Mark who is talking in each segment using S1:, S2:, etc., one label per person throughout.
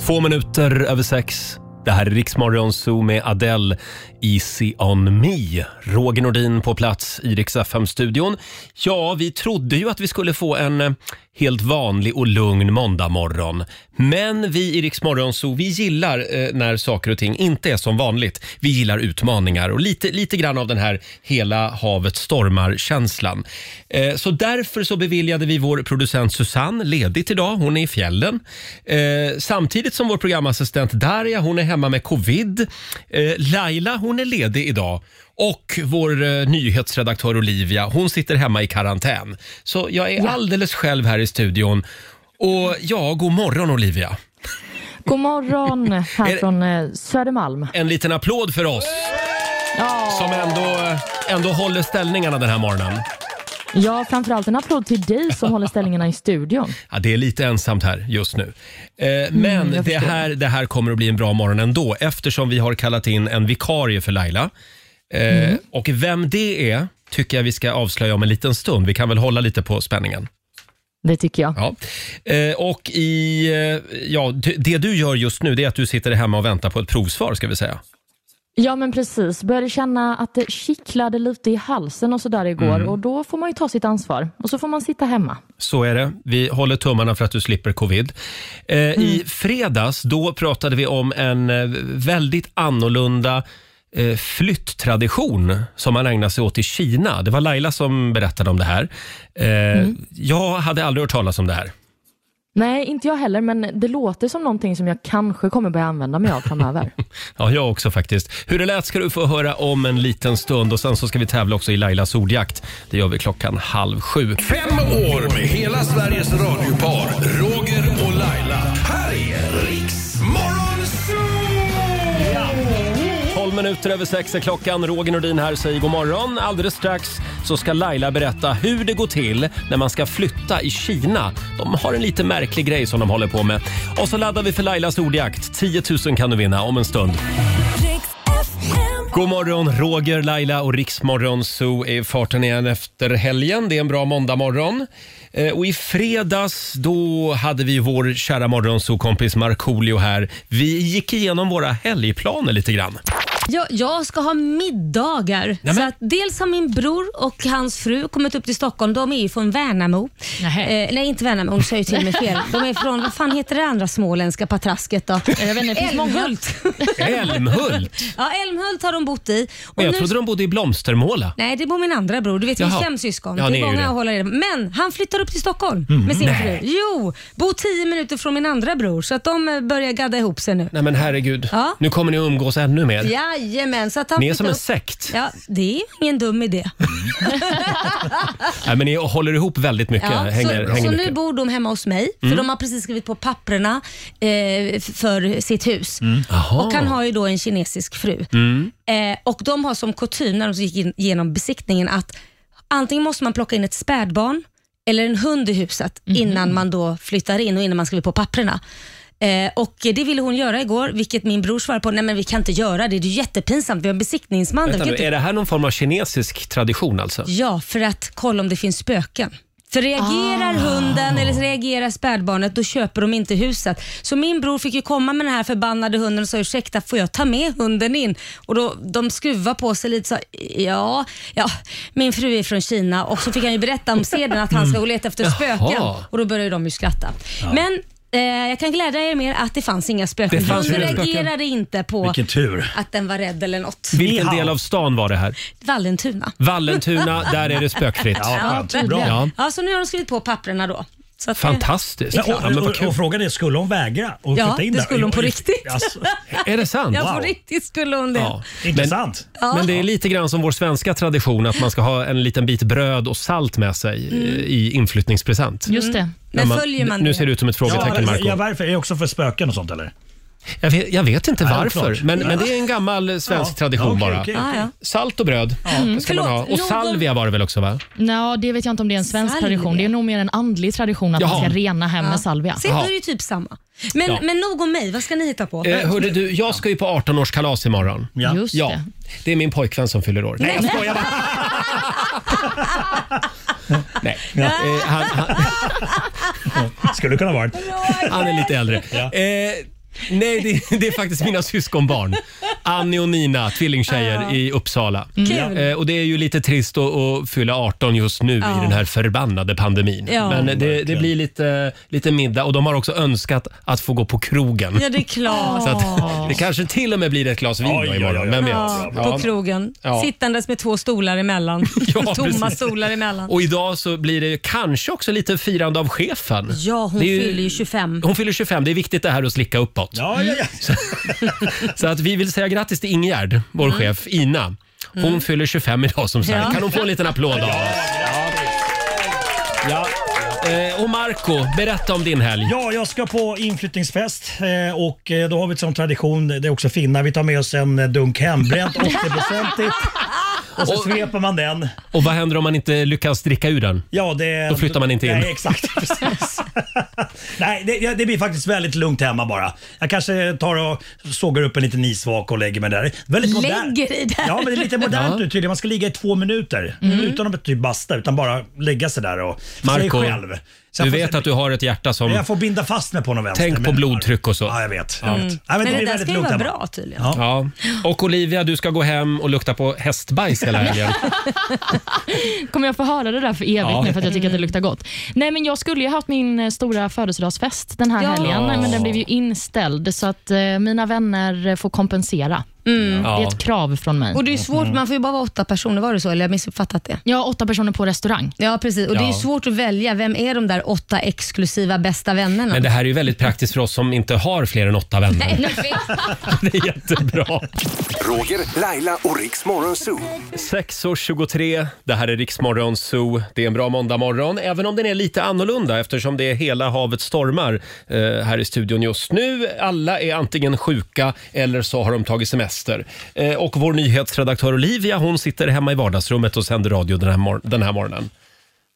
S1: Två minuter över sex. Det här är Riksmorgon Zoo med Adele, Easy on me. Roger Nordin på plats i Rix FM-studion. Ja, vi trodde ju att vi skulle få en eh, helt vanlig och lugn måndagmorgon. Men vi i Riksmorgon Zoo, vi gillar eh, när saker och ting inte är som vanligt. Vi gillar utmaningar och lite, lite grann av den här hela havet stormar-känslan. Eh, så därför så beviljade vi vår producent Susanne ledigt idag. Hon är i fjällen. Eh, samtidigt som vår programassistent Darja, hon är hemma med covid. Eh, Laila, hon är ledig idag. Och vår eh, nyhetsredaktör Olivia, hon sitter hemma i karantän. Så jag är alldeles själv här i studion. Och ja, god morgon Olivia.
S2: God morgon
S1: Är
S2: här
S1: det-
S2: från eh, Södermalm.
S1: En liten applåd för oss
S2: Ja.
S1: som ändå, eh, ändå håller ställningarna den här morgonen.
S2: ja, framförallt en applåd till dig som håller ställningarna i studion.
S1: Ja, det är lite ensamt här just nu. Eh, men
S2: Mm, jag
S1: det,
S2: förstår.
S1: här, det här kommer att bli en bra morgon ändå eftersom vi har kallat in en vikarie för Laila. Eh,
S2: Mm.
S1: Och vem det är tycker jag vi ska avslöja om en liten stund. Vi kan väl hålla lite på spänningen.
S2: Det tycker jag.
S1: Ja. Eh, och i, eh, ja, d- det du gör just nu det är att du sitter hemma och väntar på ett provsvar ska vi säga.
S2: Ja, men precis. Började känna att det kittlade lite i halsen och sådär igår
S3: Mm.
S2: och då får man ju ta sitt ansvar och så får man sitta hemma.
S1: Så är det. Vi håller tummarna för att du slipper covid. Eh, I fredags då pratade vi om en eh, väldigt annorlunda eh, flytttradition som man ägnar sig åt i Kina. Det var Laila som berättade om det här. Eh, Jag hade aldrig hört talas om det här.
S2: Nej, inte jag heller, men det låter som någonting som jag kanske kommer börja använda mig av framöver.
S1: Ja, jag också faktiskt. Hur det lät ska du få höra om en liten stund och sen så ska vi tävla också i Lailas ordjakt. Det gör vi klockan halv sju.
S4: Fem år med hela Sveriges radiopar Roger och Laila. Här är Riks Morgonzoo!
S1: 12 minuter över sex är klockan. Roger Nordin här säger god morgon. Alldeles strax så ska Laila berätta hur det går till när man ska flytta i Kina. De har en lite märklig grej som de håller på med. Och så laddar vi för Lailas ordjakt. 10 000 kan du vinna om en stund. God morgon, Roger, Laila och Riksmorgon Zoo är i farten igen efter helgen. Det är en bra måndagmorgon. Eh, Och i fredags då hade vi vår kära morgonzoo-kompis Markoolio här. Vi gick igenom våra helgplaner lite grann.
S5: Jag, jag ska ha middagar.
S1: men-
S5: Så att dels har min bror och hans fru kommit upp till Stockholm. De är ju från Värnamo.
S3: Nähä.
S5: Eh, nej, inte Värnamo. Nu säger jag ju till mig fel. De är från, vad fan heter det andra småländska patrasket då?
S3: Jag vet inte, det finns många.
S1: Älmhult!
S5: ja, Älmhult har de bott i. Och
S1: Men jag
S5: nu-
S1: trodde de bodde i Blomstermåla.
S5: Nej, det bor min andra bror. Du vet, vi
S1: Jaha.
S5: är fem syskon.
S1: Ja,
S5: det
S1: ni är
S5: är
S1: ju
S5: många
S1: det. Mhm.
S5: att hålla reda på. Men han flyttar upp till Stockholm med sin fru. Jo, bor tio minuter från min andra bror. Så att de eh, börjar gadda ihop sig nu.
S1: Nej men herregud,
S5: Ja.
S1: nu kommer ni att umgås ännu mer.
S5: Jajamän. Så att han
S1: Ni är
S5: flyttar
S1: som en
S5: upp-
S1: sekt.
S5: Ja, det är ingen dum idé.
S1: Nej, men ni håller ihop väldigt mycket.
S5: Ja,
S1: hänger,
S5: så
S1: hänger
S5: så nu
S1: mycket. Mm.
S5: bor de hemma hos mig, för de har precis skrivit på papperna eh, f- för sitt hus.
S1: Mm. Jaha. Mm.
S5: Och han har ju då en kinesisk fru. Eh, och de har som kutym när de gick in, genom besiktningen att antingen måste man plocka in ett spädbarn eller en hund i huset
S1: Mhm.
S5: innan man då flyttar in och innan man skriver på papperna. Eh, och det ville hon göra igår, vilket min bror svarade på. Nej men vi kan inte göra det, det är ju jättepinsamt. Vi har en besiktningsman. där, vi
S1: Vänta
S5: kan
S1: nu,
S5: inte
S1: är det här någon form av kinesisk tradition alltså?
S5: Ja, för att kolla om det finns spöken. För
S1: Ah.
S5: reagerar hunden eller reagerar spädbarnet, då köper de inte huset. Så min bror fick ju komma med den här förbannade hunden och sa ursäkta, får jag ta med hunden in? Och då, De skruvade på sig lite så ja, ja, min fru är från Kina och så fick han ju berätta om seden att han ska gå och leta efter spöken.
S1: Mm. Jaha.
S5: Och då började de ju skratta. Men eh, jag kan glädja er med att det fanns inga spöken.
S1: Det fanns
S5: Hunden
S1: inga spöken.
S5: reagerade inte på
S6: Vilken tur.
S5: att den var rädd eller något.
S1: Vilken del av stan var det här?
S5: Vallentuna.
S1: Vallentuna, där är det spökfritt.
S6: Ja, skönt. Bra.
S1: Ja.
S5: Ja, så nu har de skrivit på papperna då. Så att,
S1: Fantastiskt.
S6: Men,
S1: Ja, men
S6: och,
S1: vad
S6: och,
S1: kul.
S6: och frågan är, skulle hon vägra att
S5: Ja,
S6: flytta in
S5: det
S6: där?
S5: skulle hon på
S6: I- i-
S5: riktigt.
S6: Alltså,
S1: Är det sant?
S5: Ja, på
S6: Wow.
S5: riktigt skulle hon det.
S1: Ja. Men,
S6: intressant.
S1: men det är lite grann som vår svenska tradition att man ska ha en liten bit bröd och salt med sig eh, i inflyttningspresent.
S3: Just
S2: Mm.
S3: det.
S1: När
S5: Mm. Men följer man
S1: nu
S5: det?
S1: ser det ut som ett frågetecken,
S6: ja,
S1: Marco.
S6: ja, varför? Är det också för spöken och sånt eller?
S1: Jag vet, jag vet inte
S6: Nej,
S1: varför,
S6: oklart.
S1: men, men det är en gammal svensk
S6: Ja.
S1: tradition
S6: Okej,
S1: bara.
S6: okej,
S5: Ja,
S6: okej.
S5: ja.
S1: Salt och bröd det ska man
S5: Förlåt,
S1: ha. Och
S5: någon-
S1: salvia var det väl också? va?
S3: Nå, det vet jag inte om det är en svensk
S5: Salvia.
S3: tradition. Det är nog mer en andlig tradition att
S1: Jaha.
S3: man ska rena hem med salvia.
S5: Se, då är det ju typ samma. Men,
S1: Ja.
S5: men nog om mig, vad ska ni hitta på?
S1: Eh, hörde du, jag ska ju på 18-årskalas imorgon.
S6: Ja.
S3: Just
S1: Ja,
S3: det.
S1: det är min pojkvän som fyller år. Nej, jag skojar bara. Nej, eh, han, han,
S6: Skulle kunna vara.
S1: han är lite äldre.
S6: Ja.
S1: Eh, Nej, det, det är faktiskt mina syskonbarn. Annie och Nina, tvillingtjejer i Uppsala.
S5: Kul.
S1: Eh, och Det är ju lite trist att, att fylla 18 just nu i
S5: Ja.
S1: den här förbannade pandemin.
S5: Ja.
S1: Men det, det blir lite, lite middag och de har också önskat att få gå på krogen.
S5: Ja, det är klart.
S1: Så att, det kanske till och med blir ett glas vin
S6: Oj,
S1: då
S6: oj,
S1: imorgon.
S6: oj.
S1: Vem vet?
S5: Ja, på
S1: Ja.
S5: krogen.
S1: Ja.
S5: Sittandes med två stolar emellan.
S1: Ja,
S5: Tomma
S1: precis.
S5: stolar emellan.
S1: Och idag så blir det ju kanske också lite firande av chefen.
S5: Ja, hon
S1: Det är ju-
S5: fyller ju 25.
S1: Hon fyller 25. Det är viktigt det här att slicka uppåt.
S6: Ja, ja, ja.
S1: Så att vi vill säga grattis till Ingegärd, vår chef Ina. Hon fyller 25 idag som sagt.
S5: Ja.
S1: Kan hon få en liten applåd av oss? Ja. Eh, och Marco, berätta om din helg.
S6: Ja, jag ska på inflyttningsfest eh, och eh, då har vi som tradition, det är också finnar, vi tar med oss en eh, dunk hembränt 80-procentigt. Och så sveper man den.
S1: Och vad händer om man inte lyckas dricka ur den?
S6: Ja, det,
S1: Då flyttar man inte in.
S6: Nej, exakt. Precis. Nej, det, ja, det blir faktiskt väldigt lugnt hemma bara. Jag kanske tar och sågar upp en liten isvak och lägger mig där. Väldigt modern-
S5: Lägger i där? Mm.
S6: Ja, men det är lite modernt nu tydligen. Man ska ligga i två minuter utan att typ basta, utan bara lägga sig där och
S1: Marco,
S6: sig själv. Så
S1: Du
S6: jag får-
S1: vet att du har ett hjärta som...
S6: Jag får binda fast mig på någon vänster.
S1: Tänk på
S6: men-
S1: blodtryck och så.
S6: Ja, jag vet. Jag vet. Nej,
S5: Mm.
S6: det
S5: Men det
S6: blir
S5: där
S6: väldigt
S5: ska ju
S6: lugnt
S5: vara
S6: hemma.
S5: bra tydligen.
S6: Ja.
S1: Ja. Och Olivia, du ska gå hem och lukta på hästbajs hela helgen.
S3: Kommer jag få höra det där för evigt
S1: Ja.
S3: nu för att jag tycker att det luktar gott? Nej, men jag skulle ju haft min eh, stora födelsedagsfest den här
S5: Ja.
S3: helgen, men den blev ju inställd så att eh, mina vänner eh, får kompensera. Det är
S1: Ja.
S3: ett krav från mig.
S5: Och det är ju svårt,
S1: Mm.
S5: man får ju bara vara åtta personer, var det så? Eller jag missuppfattat det?
S3: Jag har åtta personer på restaurang.
S5: Ja, precis. Och det är ju
S1: Ja.
S5: svårt att välja, vem är de där åtta exklusiva bästa vännerna?
S1: Men det här är ju väldigt praktiskt för oss som inte har fler än åtta vänner.
S5: Nej, perfekt.
S1: Det är jättebra.
S7: Roger, Laila och Riks Morgonzoo.
S1: 6.23, det här är Riksmorgon Zoo. Det är en bra måndagmorgon, även om den är lite annorlunda eftersom det är hela havet stormar eh, här i studion just nu. Alla är antingen sjuka eller så har de tagit semester. Eh, och vår nyhetsredaktör Olivia, hon sitter hemma i vardagsrummet och sänder radio den här, mor- den här morgonen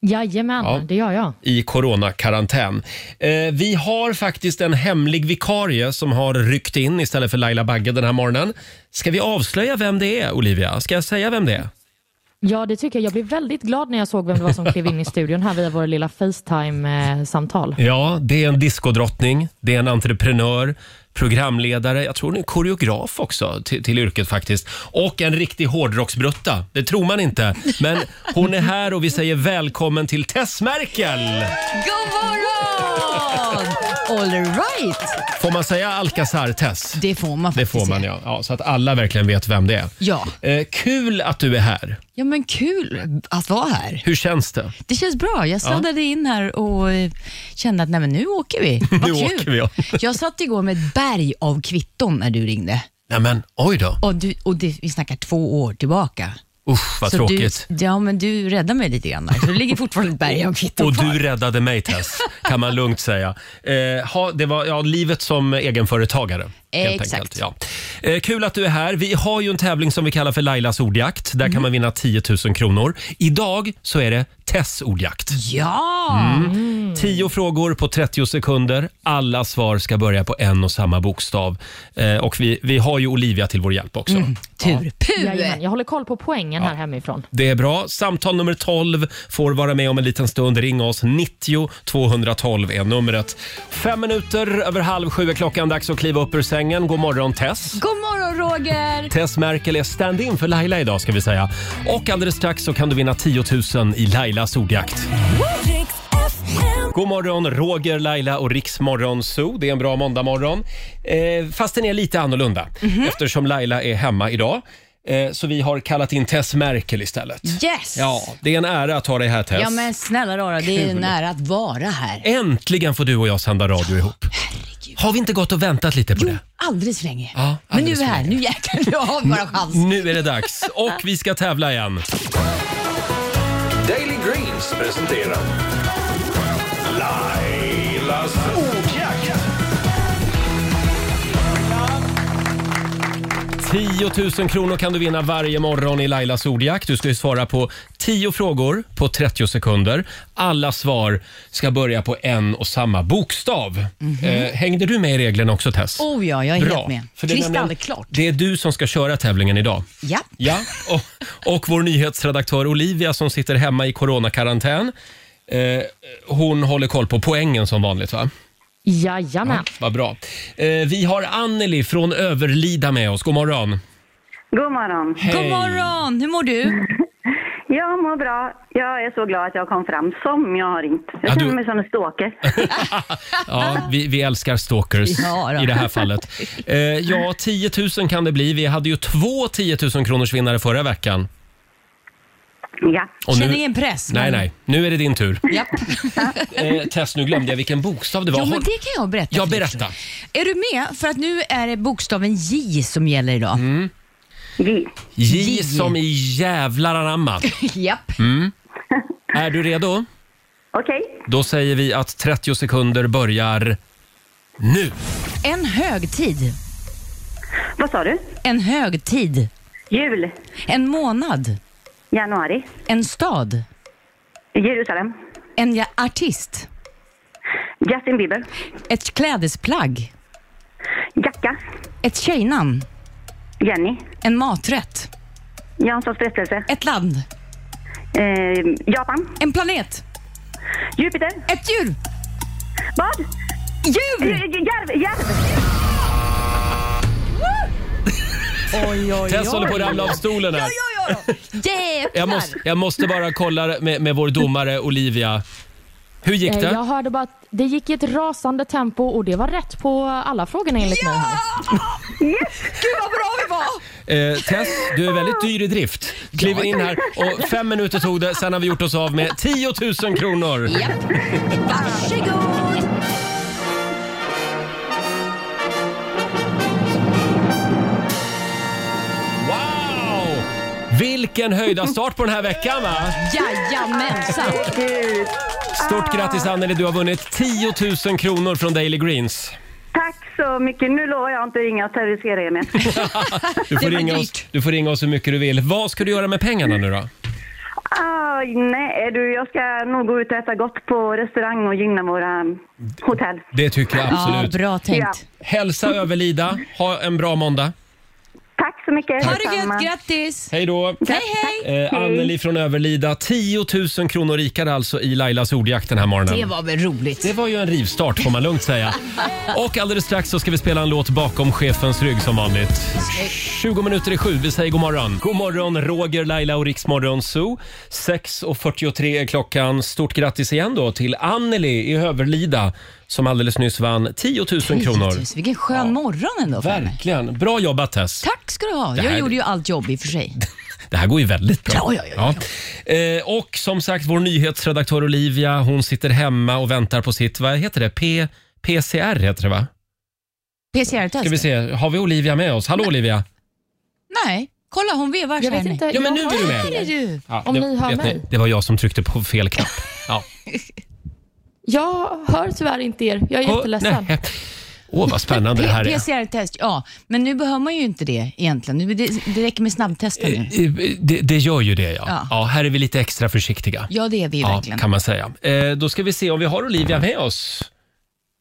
S3: Jajamän,
S1: Ja.
S3: det gör jag.
S1: i coronakarantän. Eh, vi har faktiskt en hemlig vikarie som har ryckt in istället för Laila Bagge den här morgonen. Ska vi avslöja vem det är, Olivia? Ska jag säga vem det är?
S3: Ja, det tycker jag. Jag blev väldigt glad när jag såg vem det var som klev in i studion här via våra lilla Facetime-samtal.
S1: Ja, det är en diskodrottning, det är en entreprenör, programledare, jag tror hon är koreograf också till, till yrket faktiskt. Och en riktig hårdrocksbrutta, det tror man inte. Men hon är här och vi säger välkommen till Tess Merkel!
S5: God morgon! All right.
S1: Får man säga Alcazar-Tess?
S8: Det får man
S1: Det
S8: faktiskt
S1: får man
S8: göra.
S1: ja. ja. Så att alla verkligen vet vem det är.
S8: Ja.
S1: Eh, kul att du är här.
S8: Ja, men kul att vara här.
S1: Hur känns det?
S8: Det känns bra. Jag sladdade in här och eh, kände att nej, men nu åker vi. Vad
S1: Nu
S8: kul.
S1: åker vi, ja.
S8: jag satt igår med ett berg av kvitton när du ringde.
S1: Nej men, oj då.
S8: Och, du, och det, vi snackar två år tillbaka.
S1: Usch vad
S8: så
S1: tråkigt.
S8: Du, ja, men du räddade mig lite grann. där. Så det ligger fortfarande ett berg av kvitton
S1: Och
S8: kvar.
S1: du räddade mig Tess, kan man lugnt säga. Eh, ha, det var ja, livet som egenföretagare. Helt
S8: Exakt.
S1: enkelt, ja. eh, kul att du är här. Vi har ju en tävling som vi kallar för Lailas ordjakt. Där
S8: Mhm.
S1: kan man vinna 10 000 kronor. Idag så är det Tess ordjakt.
S8: Ja!
S1: Mm.
S8: Mm.
S1: 10 frågor på 30 sekunder. Alla svar ska börja på en och samma bokstav. Eh, och vi, vi har ju Olivia till vår hjälp också.
S8: Mm. Tur.
S3: Jajamän,
S8: Puh!
S3: jag håller koll på poängen här hemifrån.
S1: Det är bra. Samtal nummer 12 får vara med om en liten stund. Ring oss. 90 212 är numret. Fem minuter över halv sju är klockan. Dags att kliva upp ur sängen. God morgon, Tess.
S8: God morgon Roger!
S1: Tess Merkel är stand-in för Laila idag ska vi säga. Och alldeles strax så kan du vinna 10 000 i Lailas ordjakt. God morgon, Roger, Laila och Riksmorgon Zoo. Det är en bra måndagmorgon. Eh, fast den är lite annorlunda
S8: Mhm.
S1: eftersom Laila är hemma idag. Eh, så vi har kallat in Tess Merkel istället.
S8: Yes!
S1: Ja, det är en ära att ha dig här Tess.
S8: Ja, men snälla rara, det är ju nära att vara här.
S1: Äntligen får du och jag sända radio ihop. Har vi inte gått och väntat lite på
S8: Jo,
S1: det?
S8: alldeles för länge.
S1: Ja,
S8: men nu
S1: alldeles
S8: är vi
S1: för Mm.
S8: här, nu jäklar, nu har vi bara chans.
S1: Nu är det dags och vi ska tävla igen.
S4: Daily Greens presenterar Lailas ordjakt.
S1: 10 000 kronor kan du vinna varje morgon i Lailas ordjakt. Du ska ju svara på 10 frågor på 30 sekunder. Alla svar ska börja på en och samma bokstav. eh, hängde du med i reglerna också Tess?
S8: Oh ja, Mhm. jag är helt med.
S1: för det är
S8: Kristallklart.
S1: Det är du som ska köra tävlingen idag.
S8: Ja.
S1: Ja, och, och vår nyhetsredaktör Olivia som sitter hemma i coronakarantän. Eh, hon håller koll på poängen som vanligt va?
S2: Jajamän.
S1: Vad bra. Eh, vi har Anneli från Överlida med oss. God morgon.
S9: God morgon.
S1: Hej.
S8: God morgon! Hur mår du?
S9: Jag mår bra. Jag är så glad att jag kom fram som jag har ringt. Jag
S1: Ja,
S9: känner
S1: du-
S9: mig som en stalker.
S1: Ja, vi, vi älskar stalkers
S8: Ja, då.
S1: i det här fallet. Eh, ja, 10 000 kan det bli. Vi hade ju två 10 000 kronors vinnare förra veckan.
S9: Ja.
S1: Och
S8: Känner
S1: nu,
S8: ingen press?
S1: nej, nej. Nu är det din tur.
S8: Japp.
S1: Eh, Tess, nu glömde jag vilken bokstav det var.
S8: Ja, men
S1: Har-
S8: det kan jag berätta.
S1: Ja,
S8: för dig.
S1: berätta.
S8: Är du med? För att nu är det bokstaven J som gäller idag.
S1: Mm.
S9: Vi.
S1: J som i jävlar anamma.
S8: Japp.
S1: Mm. Är du redo?
S9: Okej.
S1: Då säger vi att 30 sekunder börjar nu.
S8: En högtid.
S9: Vad sa du?
S8: En högtid.
S9: Jul.
S8: En månad.
S9: Januari.
S8: En stad.
S9: Jerusalem.
S8: En ja- artist.
S9: Justin Bieber.
S8: Ett klädesplagg.
S9: Jacka.
S8: Ett tjejnamn.
S9: Jenny.
S8: En maträtt.
S9: Janssons frestelse.
S8: Ett land.
S9: Eh, Japan.
S8: En planet.
S9: Jupiter.
S8: Ett djur.
S9: Vad?
S8: Djur!
S9: Eh, Järv. Järv.
S1: Tess håller på att ramla av stolen här. Jag
S8: Jävlar!
S1: måste, jag måste bara kolla med, med vår domare Olivia. Hur gick
S2: Eh, Jag
S1: det?
S2: hörde bara att det gick i ett rasande tempo och det var rätt på alla frågorna enligt mig. Här.
S8: Gud vad bra vi var!
S1: Eh, Tess, du är väldigt dyr i drift. Kliver in här och fem minuter tog det, sen har vi gjort oss av med 10 000 kronor.
S8: Japp. Varsågod!
S1: Wow! Vilken höjda start på den här veckan va?
S8: Jajamensan!
S9: Gud.
S1: Stort
S8: Ah.
S1: grattis Anneli, du har vunnit 10 000 kronor från Daily Greens.
S9: Tack så mycket. Nu lovar jag inte att ringa och terrorisera er mer.
S1: Du får,
S8: var
S1: ringa oss,
S8: dyrt.
S1: du får ringa oss hur mycket du vill. Vad ska du göra med pengarna nu då?
S9: Ah, nej du, jag ska nog gå ut och äta gott på restaurang och gynna våra mm, hotell.
S1: Det tycker jag
S8: Ja,
S1: absolut.
S8: bra
S9: Ja.
S8: tänkt.
S1: Hälsa Överlida, ha en bra måndag.
S9: Tack så mycket.
S8: Ha det
S9: Detsamma.
S8: gött, grattis!
S1: Hej då!
S8: Hej hej!
S1: Eh, Anneli från Överlida, 10 000 kronor rikare alltså i Lailas ordjakt den här morgonen.
S8: Det var väl roligt?
S1: Det var ju en rivstart får man lugnt säga. Och alldeles strax så ska vi spela en låt bakom chefens rygg som vanligt. 20 minuter i sju, vi säger god morgon. God morgon Roger, Laila och Riksmorgon Zoo. 6.43 är klockan. Stort grattis igen då till Anneli i Höverlida som alldeles nyss vann 10 000 kronor.
S8: Vilken skön morgon ändå för mig.
S1: Verkligen. Bra jobbat Tess.
S8: Tack ska du ha.
S1: Det
S8: Jag
S1: här-
S8: gjorde ju allt jobb i och för sig.
S1: Det här går ju väldigt bra.
S8: Ja, ja, ja,
S1: Eh, och som sagt, vår nyhetsredaktör Olivia, hon sitter hemma och väntar på sitt, vad heter det? P- PCR heter det va? Ska vi
S8: PCR-test?
S1: se, har vi Olivia med oss? Hallå Olivia!
S8: Nej, kolla hon vevar
S2: Jag
S8: så här
S2: vet
S8: nu.
S2: inte.
S1: Ja, men nu
S2: jag har-
S1: är du
S8: Där
S1: med.
S8: är du.
S1: Ja,
S2: Om ni hör
S1: vet
S2: mig.
S1: det var jag som tryckte på fel knapp. Ja.
S2: Jag hör tyvärr inte er. Jag är jätteledsen.
S1: nej. Åh, vad spännande det här är.
S8: PCR-test, ja. Men nu behöver man ju inte det egentligen. Nu- Det, det räcker med snabbtesten nu.
S1: Eh, Det, det gör ju det, ja. ja.
S8: Ja.
S1: Här är vi lite extra försiktiga.
S8: Ja, det är vi ju
S1: Ja,
S8: verkligen.
S1: kan man säga. Eh, då ska vi se om vi har Olivia med oss.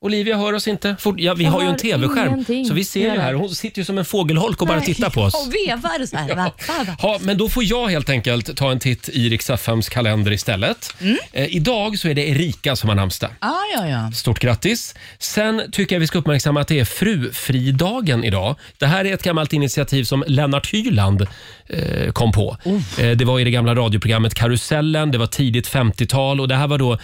S1: Olivia hör oss inte. Fort, ja, vi
S2: Jag
S1: har ju en
S2: hör
S1: tv-skärm,
S2: ingenting.
S1: så vi ser ju
S2: Tyvärr.
S1: här. Hon sitter ju som en fågelholk och bara tittar på oss.
S8: Och vevar så här. Va, va, va.
S1: Ja, men då får jag helt enkelt ta en titt i Rix FMs kalender istället.
S8: Mm.
S1: Eh, idag så är det Erika som har namnsdag.
S8: Ja, ja, ja.
S1: Stort grattis! Sen tycker jag vi ska uppmärksamma att det är frufridagen idag. Det här är ett gammalt initiativ som Lennart Hyland eh, kom på.
S8: Oh.
S1: Eh, det var i det gamla radioprogrammet Karusellen, det var tidigt 50-tal och det här var då eh,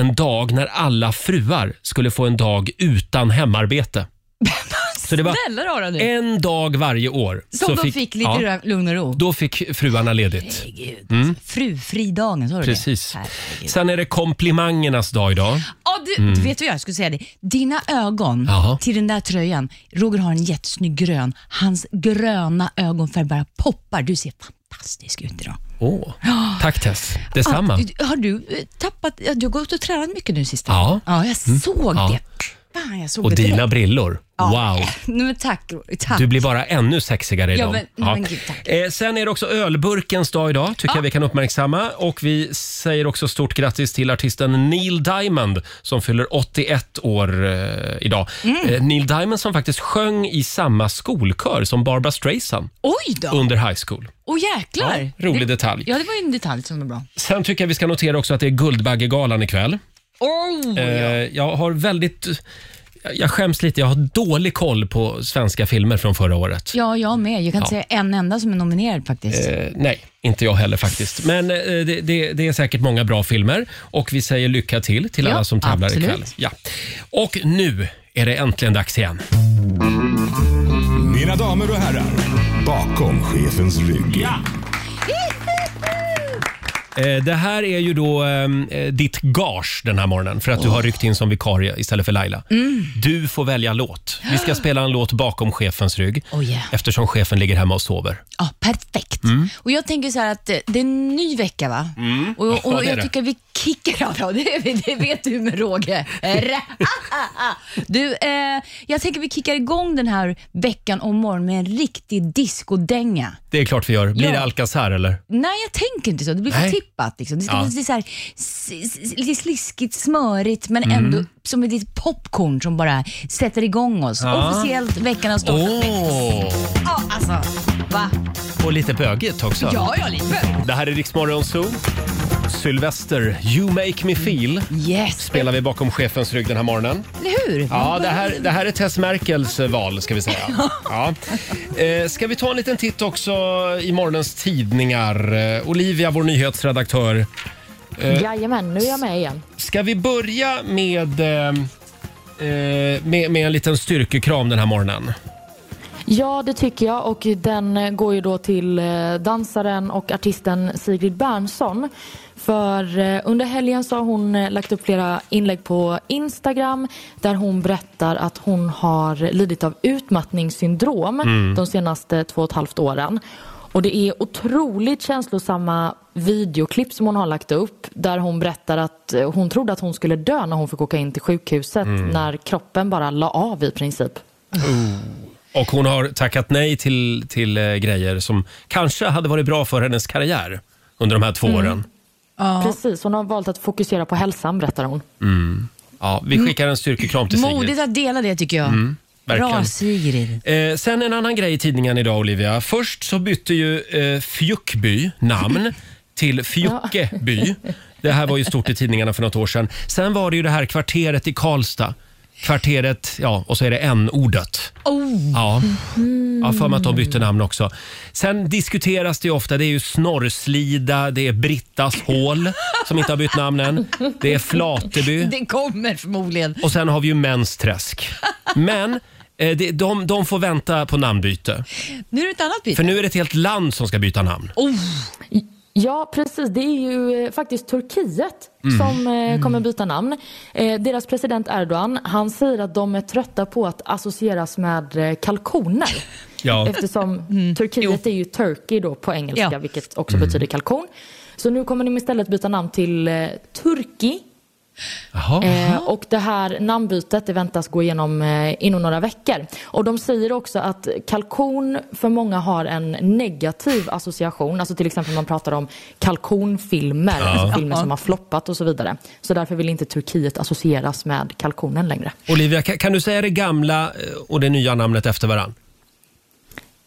S1: en dag när alla fruar skulle få en dag utan hemarbete. Så det var
S8: Snälla rara nu.
S1: en dag varje år.
S8: Som de fick, lite
S1: Eh, ja,
S8: ra- lugn och ro.
S1: Då fick fruarna ledigt.
S8: Herregud. Frufridagen, sa du
S1: Precis.
S8: det? Herregud.
S1: Sen är det komplimangernas dag idag.
S8: Ja, du, du vet vad jag skulle säga? Det. Dina ögon
S1: Mm. Jaha.
S8: till den där tröjan. Roger har en jättesnygg grön. Hans gröna ögonfärg bara poppar. Du ser fantastisk ut idag.
S1: Åh, Tack Tess, detsamma.
S8: Ah, Har du eh, tappat... ja, Du har gått och tränat mycket nu sista
S1: Ja. Mm.
S8: Ja, jag såg
S1: Ja.
S8: det. Fan, jag såg
S1: Och
S8: det
S1: dina
S8: direkt.
S1: brillor.
S8: Ja.
S1: Wow!
S8: Nej, men tack, Roger, tack.
S1: Du blir bara ännu sexigare i
S8: Ja,
S1: dem.
S8: men- men gud, tack.
S1: Eh, sen är det också ölburkens dag idag, tycker jag vi kan uppmärksamma. Och vi säger också stort grattis till artisten Neil Diamond som fyller 81 år eh, idag.
S8: Mm.
S1: Eh, Neil Diamond som faktiskt sjöng i samma skolkör som Barbra Streisand
S8: Oj då!
S1: under high school.
S8: Åh jäklar!
S1: rolig
S8: det,
S1: detalj.
S8: Ja, det var ju en detalj som var bra.
S1: Sen tycker jag vi ska notera också att det är Guldbaggegalan ikväll. Eh, jag har väldigt... Jag skäms lite, jag har dålig koll på svenska filmer från förra året.
S8: Ja, jag med. Jag kan inte säga en enda som är nominerad faktiskt.
S1: Eh, nej, inte jag heller faktiskt. Men eh, det, det, det är säkert många bra filmer och vi säger lycka till till
S8: Ja,
S1: alla som tävlar
S8: absolut.
S1: ikväll. Ja. Och nu är det äntligen dags igen.
S4: Mina damer och herrar, bakom chefens rygg.
S1: Eh, Det här är ju då eh, ditt gage den här morgonen för att du har ryckt in som vikarie istället för Laila.
S8: Mm.
S1: Du får välja låt. Vi ska spela en låt bakom chefens rygg
S8: Oh, yeah.
S1: eftersom chefen ligger hemma och sover.
S8: Ja, perfekt.
S1: Mm.
S8: Och jag tänker så här att eh, det är en ny vecka va? Och,
S1: Ja,
S8: och
S1: det är
S8: jag
S1: det.
S8: tycker vi kickar av ja, det, är vi- det vet du med råge. Eh, ah, ah, ah. Du, eh, jag tänker vi kickar igång den här veckan om morgon med en riktig discodänga.
S1: Det är klart vi gör. Blir
S8: Ja.
S1: det Alcazar eller?
S8: Nej, jag tänker inte så. Det blir
S1: Nej.
S8: förtippat. Liksom. Det ska
S1: Ja.
S8: bli så här, s- s- lite sliskigt, smörigt, men
S1: Mm.
S8: ändå som ett litet popcorn som bara sätter igång oss.
S1: Ja.
S8: Officiellt, veckan har startat.
S1: Åh!
S8: Ja, alltså. Va?
S1: Och lite bögigt också.
S8: Ja, ja, lite.
S1: Det här är Riksmorgon Zoo. Sylvester, You Make Me Feel
S8: Yes,
S1: spelar vi bakom chefens rygg den här morgonen.
S8: eller hur?
S1: Ja, det här, det här är Tess Merkels eh, val ska vi säga. Ja. Eh, ska vi ta en liten titt också i morgonens tidningar? Eh, Olivia, vår nyhetsredaktör. Eh,
S2: Jajamän, nu är jag med igen.
S1: Ska vi börja med, eh, eh, med, med en liten styrkekram den här morgonen?
S2: Ja, det tycker jag. Och den eh, går ju då till eh, dansaren och artisten Sigrid Bernson. För eh, under helgen så har hon eh, lagt upp flera inlägg på Instagram där hon berättar att hon har lidit av utmattningssyndrom de senaste två och ett halvt åren. Och det är otroligt känslosamma videoklipp som hon har lagt upp där hon berättar att eh, hon trodde att hon skulle dö när hon fick åka in till sjukhuset när kroppen bara la av i princip.
S1: Och hon har tackat nej till, till eh, grejer som kanske hade varit bra för hennes karriär under de här två
S8: Mm.
S1: åren.
S2: Precis, hon har valt att fokusera på hälsan berättar hon.
S1: Ja, vi skickar en styrkekram till Sigrid.
S8: Modigt att dela det tycker jag.
S1: Mm, verkligen.
S8: Bra Sigrid.
S1: Eh, sen en annan grej i tidningen idag, Olivia. Först så bytte ju eh, Fjuckby namn till Fjuckeby. Det här var ju stort i tidningarna för något år sedan. Sen var det ju det här kvarteret i Karlstad. Kvarteret, ja, och så är det n-ordet.
S8: Oh. Mm.
S1: Ja, jag för mig att de bytte namn också. Sen diskuteras det ju ofta. Det är ju Snorrslida, det är Brittas hål som inte har bytt namn än. Det är Flateby.
S8: Det kommer förmodligen.
S1: Och sen har vi ju mensträsk. Men eh, det, de, de får vänta på namnbyte.
S8: Nu är det ett annat byte.
S1: För nu är det ett helt land som ska byta namn.
S2: Ja, precis. Det är ju eh, faktiskt Turkiet som eh, kommer byta namn. Eh, deras president Erdogan, han säger att de är trötta på att associeras med eh, kalkoner.
S1: Ja.
S2: Eftersom Turkiet är ju Turkey då på engelska,
S8: Ja.
S2: vilket också betyder kalkon. Så nu kommer de istället byta namn till eh, Turki.
S1: Jaha.
S2: Eh, och det här namnbytet det väntas gå igenom eh, inom några veckor. Och de säger också att kalkon för många har en negativ association. Alltså till exempel man pratar om kalkonfilmer, alltså filmer som har floppat och så vidare. Så därför vill inte Turkiet associeras med kalkonen längre.
S1: Olivia, kan, kan du säga det gamla eh, och det nya namnet efter varann?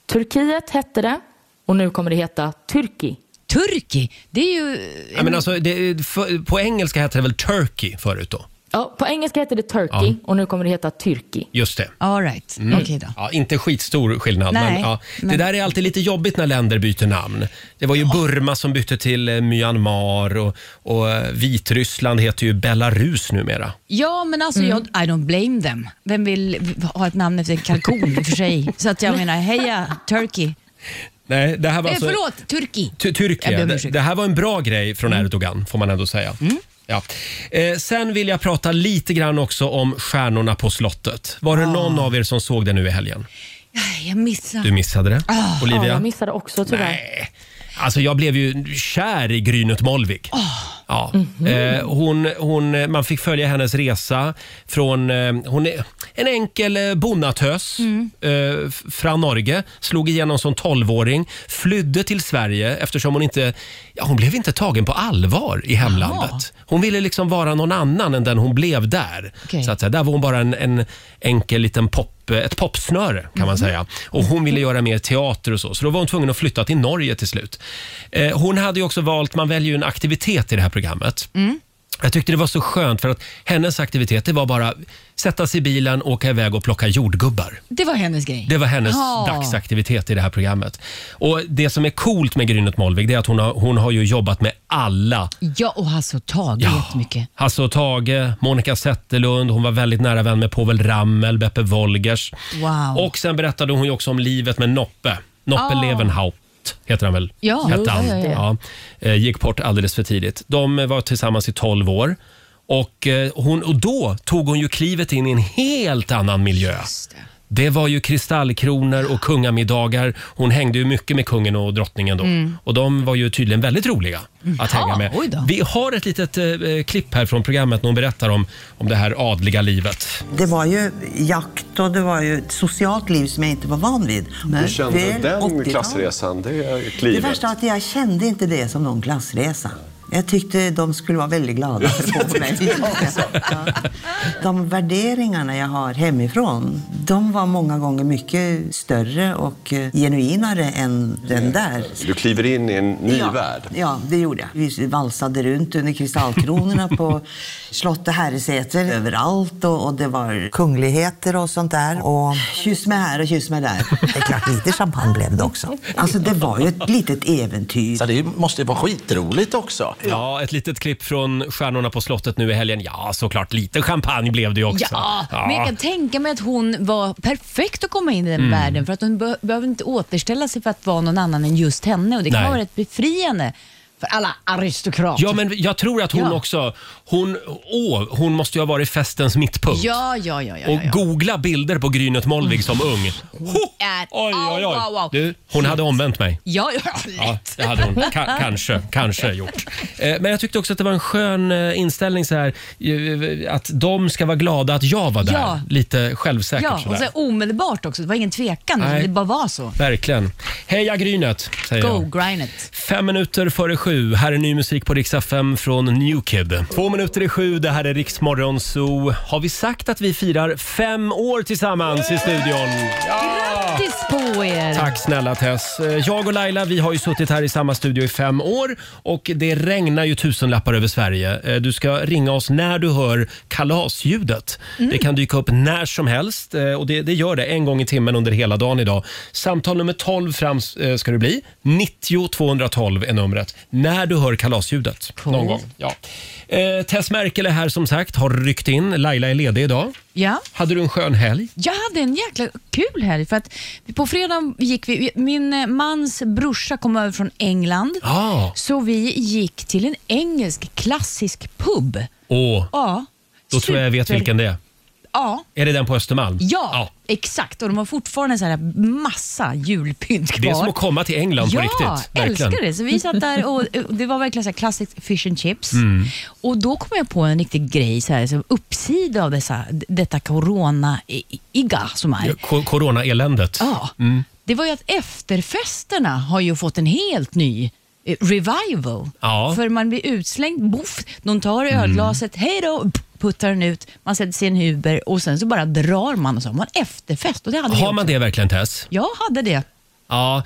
S2: Turkiet hette det och nu kommer det heta Tyrki.
S8: Turki, det är ju... eh,
S1: Ja, men alltså, det, för, på engelska hette det väl Turkey förut då?
S2: Ja, på engelska hette det Turkey och nu kommer det heta Tyrki.
S1: Just det.
S8: All right,
S1: Mm.
S8: okej då.
S1: Ja, inte skitstor skillnad.
S8: Nej,
S1: men, ja, Det
S8: men-
S1: där är alltid lite jobbigt när länder byter namn. Det var ju Burma som bytte till eh, Myanmar och, och eh, Vitryssland heter ju Belarus numera.
S8: Ja, men alltså jag, I don't blame them. Vem vill v- ha ett namn efter en kalkon i och för sig? Så att jag menar, heja Turkey.
S1: Nej, det här var
S8: Eh,
S1: alltså...
S8: förlåt, Turki.
S1: Ty-
S8: Jag ber
S1: Tyrkia.
S8: om
S1: Det,
S8: ursäkt. Mm.
S1: det här var en bra grej från Erdogan, får man ändå säga. Ja. Eh, sen vill jag prata lite grann också om Stjärnorna på slottet. Var
S8: Ah.
S1: det någon av er som såg det nu i helgen?
S8: Nej, Jag missade.
S1: Du missade det?
S8: Ah,
S2: Ja,
S1: Olivia?
S2: jag missade också tyvärr.
S1: Nej. Alltså jag blev ju kär i Grynet Molvig. Ja. Eh, hon, hon, man fick följa hennes resa från... Eh, hon är en enkel eh, bonnatös eh, f- från Norge. Slog igenom som tolvåring. Flydde till Sverige eftersom hon inte... Ja, hon blev inte tagen på allvar i hemlandet. Hon ville liksom vara någon annan än den hon blev där.
S8: Okej.
S1: Så att säga. Där var hon bara en, en enkel liten pop, eh, ett popsnöre kan
S8: Mhm.
S1: man säga. Och hon ville göra mer teater och så, så då var hon tvungen att flytta till
S8: Mm.
S1: Norge till slut. Eh, hon hade ju också valt, man väljer ju en aktivitet i det här programmet. Jag tyckte det var så skönt för att hennes aktivitet det var bara sätta sig i bilen, åka iväg och plocka jordgubbar.
S8: Det var hennes grej.
S1: Det var hennes
S8: Ja.
S1: dagsaktivitet i det här programmet. Och Det som är coolt med Grynet Molvig det är att hon har, hon har ju jobbat med alla.
S8: Ja, och Hasse och Tage jättemycket.
S1: Hasse och Tage, Monica Zetterlund, hon var väldigt nära vän med Povel Ramel, Beppe Wolgers.
S8: Wow.
S1: Och sen berättade hon ju också om livet med Noppe. Noppe
S8: Ah.
S1: Levenhaupt heter han väl?
S8: Ja,
S1: Hette
S8: jo,
S1: han.
S8: ja, ja,
S1: Ja. Eh, Gick bort alldeles för tidigt. De eh, var tillsammans i 12 år. Och, eh, hon, och då tog hon ju klivet in i en helt annan miljö. Det var ju kristallkronor och kungamiddagar. Hon hängde ju mycket med kungen och drottningen då. Och de var ju tydligen väldigt roliga att hänga med.
S8: Mm. oj då.
S1: Vi har ett litet eh, eh, klipp här från programmet när hon berättar om, om det här adliga livet.
S9: Det var ju jakt och det var ju ett socialt liv som jag inte var van vid.
S10: Hur kände
S9: Väl
S10: den
S9: 80-tal.
S10: klassresan, det
S9: Det
S10: klivet?
S9: värsta är att jag kände inte det som någon klassresa. Jag tyckte de skulle vara väldigt glada för att få mig. Ja. De värderingarna jag har hemifrån, de var många gånger mycket större och eh, genuinare än den där.
S10: Mm. Du kliver in i en ny värld.
S9: Ja, det gjorde jag. Vi valsade runt under kristallkronorna på slott och herresäter överallt och, och det var kungligheter och sånt där. Och kyss mig här och kyss mig där. Det är klart, lite champagne blev det också. Alltså, det var ju ett litet äventyr.
S4: det måste ju vara skitroligt också.
S1: Ja, ett litet klipp från Stjärnorna på slottet nu i helgen. Ja, såklart. Lite champagne blev det ju också.
S8: Ja, men jag kan tänka mig att hon var perfekt att komma in i den
S1: Mm.
S8: världen för att hon be- behöver inte återställa sig för att vara någon annan än just henne och det kan
S1: Nej.
S8: vara rätt befriande för alla aristokrater.
S1: Ja, men jag tror att hon
S8: Ja.
S1: också... Hon, åh, hon måste ju ha varit festens mittpunkt.
S8: ja, ja, ja. ja,
S1: Och
S8: ja, ja.
S1: googla bilder på Grynet Molvig som ung. Ho!
S8: är-
S1: Oj, oj,
S8: Au, au,
S1: oj.
S8: au.
S1: Du, hon hade omvänt mig.
S8: Ja, ja, lätt.
S1: Ja, det hade hon. Ka- kanske, kanske gjort. Eh, Men jag tyckte också att det var en skön eh, inställning så här, eh, att de ska vara glada att jag var där.
S8: Ja.
S1: Lite självsäkert
S8: ja, och
S1: sådär.
S8: så omedelbart också. Det var ingen tvekan.
S1: Nej.
S8: Det bara var så.
S1: Verkligen. Heja Grynet, säger jag.
S8: Go, grind it.
S1: Fem minuter före sju. Här är ny musik på Rix FM från New Kid. Två minuter i sju. Det här är Rix Morgon Zoo. Har vi sagt att vi firar fem år tillsammans i studion?
S8: Grattis på er.
S1: Tack snälla Tess. Eh, Jag och Laila vi har ju suttit här i samma studio i fem år och det regnar ju tusenlappar över Sverige. Eh, Du ska ringa oss när du hör kalasljudet. Det kan dyka upp när som helst eh, och det, det gör det en gång i timmen under hela dagen idag. Samtal nummer 12 fram eh, ska det bli. 90 212 är numret. När du hör kalasljudet. Någon gång. Ja. Eh, Tess Merkel är här som sagt, har ryckt in. Laila är ledig idag.
S8: Ja.
S1: Hade du en skön helg?
S8: Jag hade en jäkla kul helg för att på fredag gick vi, min eh, mans brorsa kom över från England.
S1: Ja.
S8: Så vi gick till en engelsk klassisk pub.
S1: Åh,
S8: Ja.
S1: då tror jag jag vet
S8: Super-
S1: vilken det är.
S8: Ja,
S1: Är det den på Östermalm?
S8: ja, exakt. Och de har fortfarande så här massa julpynt kvar.
S1: Det är som att komma till England
S8: ja,
S1: på riktigt. Verkligen.
S8: älskar det. Så vi satt där och och det var verkligen så här klassiskt fish and chips.
S1: Mm.
S8: Och då kom jag på en riktig grej, så här, så uppsida av dessa, detta corona-igga som är.
S1: Ko- Corona-eländet.
S8: Ja,
S1: Mm.
S8: det var ju att efterfesterna har ju fått en helt ny eh, revival.
S1: Ja. Mm.
S8: För man blir utslängd, boff, någon tar ölglaset, hej då, p- puttar den ut, man sätter sig i en Huber och sen så bara drar man och så har man efterfest. Och det hade vi
S1: Har
S8: också.
S1: man det verkligen Tess?
S8: Jag hade det.
S1: Ja,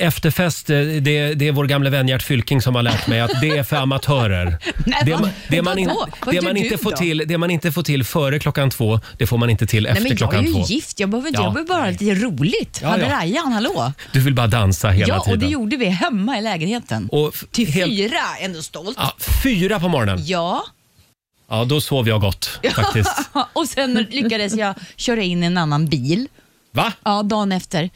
S1: efterfest, eh, det, det är vår gamla vän Gert Fylking som har lärt mig att det är för amatörer.
S8: Nej,
S1: det,
S8: vad-
S1: man- det, man, in,
S8: vadå? Vad
S1: det,
S8: gör
S1: man
S8: du
S1: inte får
S8: då?
S1: till, det man inte får till före klockan två, det får man inte till efter
S8: Nej, men jag är
S1: klockan
S8: ju
S1: två.
S8: gift, jag behöver, inte,
S1: Ja,
S8: jag behöver bara ha lite roligt.
S1: Ja,
S8: hade
S1: ja.
S8: Rajan, hallå?
S1: Du vill bara dansa hela
S8: ja,
S1: tiden.
S8: och det gjorde vi hemma i lägenheten.
S1: Och f-
S8: Till
S1: helt-
S8: fyra, ändå stolt.
S1: Ja, fyra på morgonen.
S8: Ja,
S1: Ja, då sov jag gott faktiskt.
S8: och sen lyckades jag köra in en annan bil.
S1: Va?
S8: Ja, dagen efter.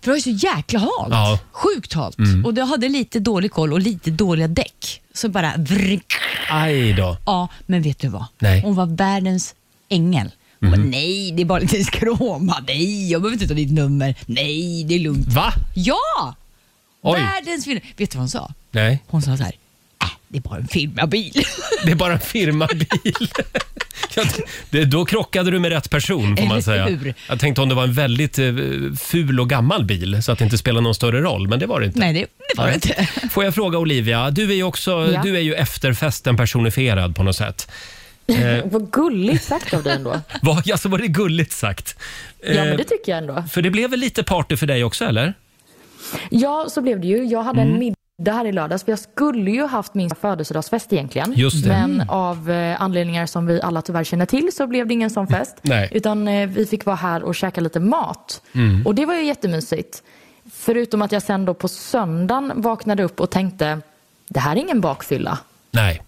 S8: För det var ju så jäkla halt.
S1: Ja. Mm.
S8: Sjukt halt. Och jag hade lite dålig koll och lite dåliga däck. Så bara vrk.
S1: Aj då.
S8: Ja, men vet du vad?
S1: Nej. Mhm.
S8: Hon var världens ängel. Hon bara, nej, det är bara lite skråma. Nej, jag behöver inte ta ditt nummer. Nej, det är lugnt.
S1: Va?
S8: Ja!
S1: Oj.
S8: Världens film. Vet du vad hon sa?
S1: Nej,
S8: Hon sa så här, äh, det är bara en firmabil.
S1: det är bara en firmabil. Ja, det, då krockade du med rätt person får man
S8: Eller
S1: säga.
S8: hur?
S1: Jag tänkte om det var en väldigt eh, ful och gammal bil så att det inte spelar någon större roll, men det var det inte.
S8: Nej, det, det var det inte.
S1: Får jag fråga Olivia, du är ju, också,
S3: Ja.
S1: du är ju efterfesten personifierad på något sätt.
S3: Vad gulligt sagt av dig ändå.
S1: Var, alltså var det gulligt sagt?
S3: Ja, men
S1: Eh,
S3: det tycker jag ändå.
S1: För det blev väl lite party för dig också eller? Mm.
S3: Ja, så blev det ju. Jag hade en middag
S2: Det här är lördags, för jag skulle ju haft min födelsedagsfest egentligen.
S1: Just det.
S2: Men
S1: Mm.
S2: av eh, anledningar som vi alla tyvärr känner till så blev det ingen sån fest.
S1: Nej.
S2: Utan eh, vi fick vara här och käka lite mat.
S1: Mm.
S2: Och det var ju jättemysigt. Förutom att jag sen då på söndagen vaknade upp och tänkte, det här är ingen bakfylla.
S1: Nej.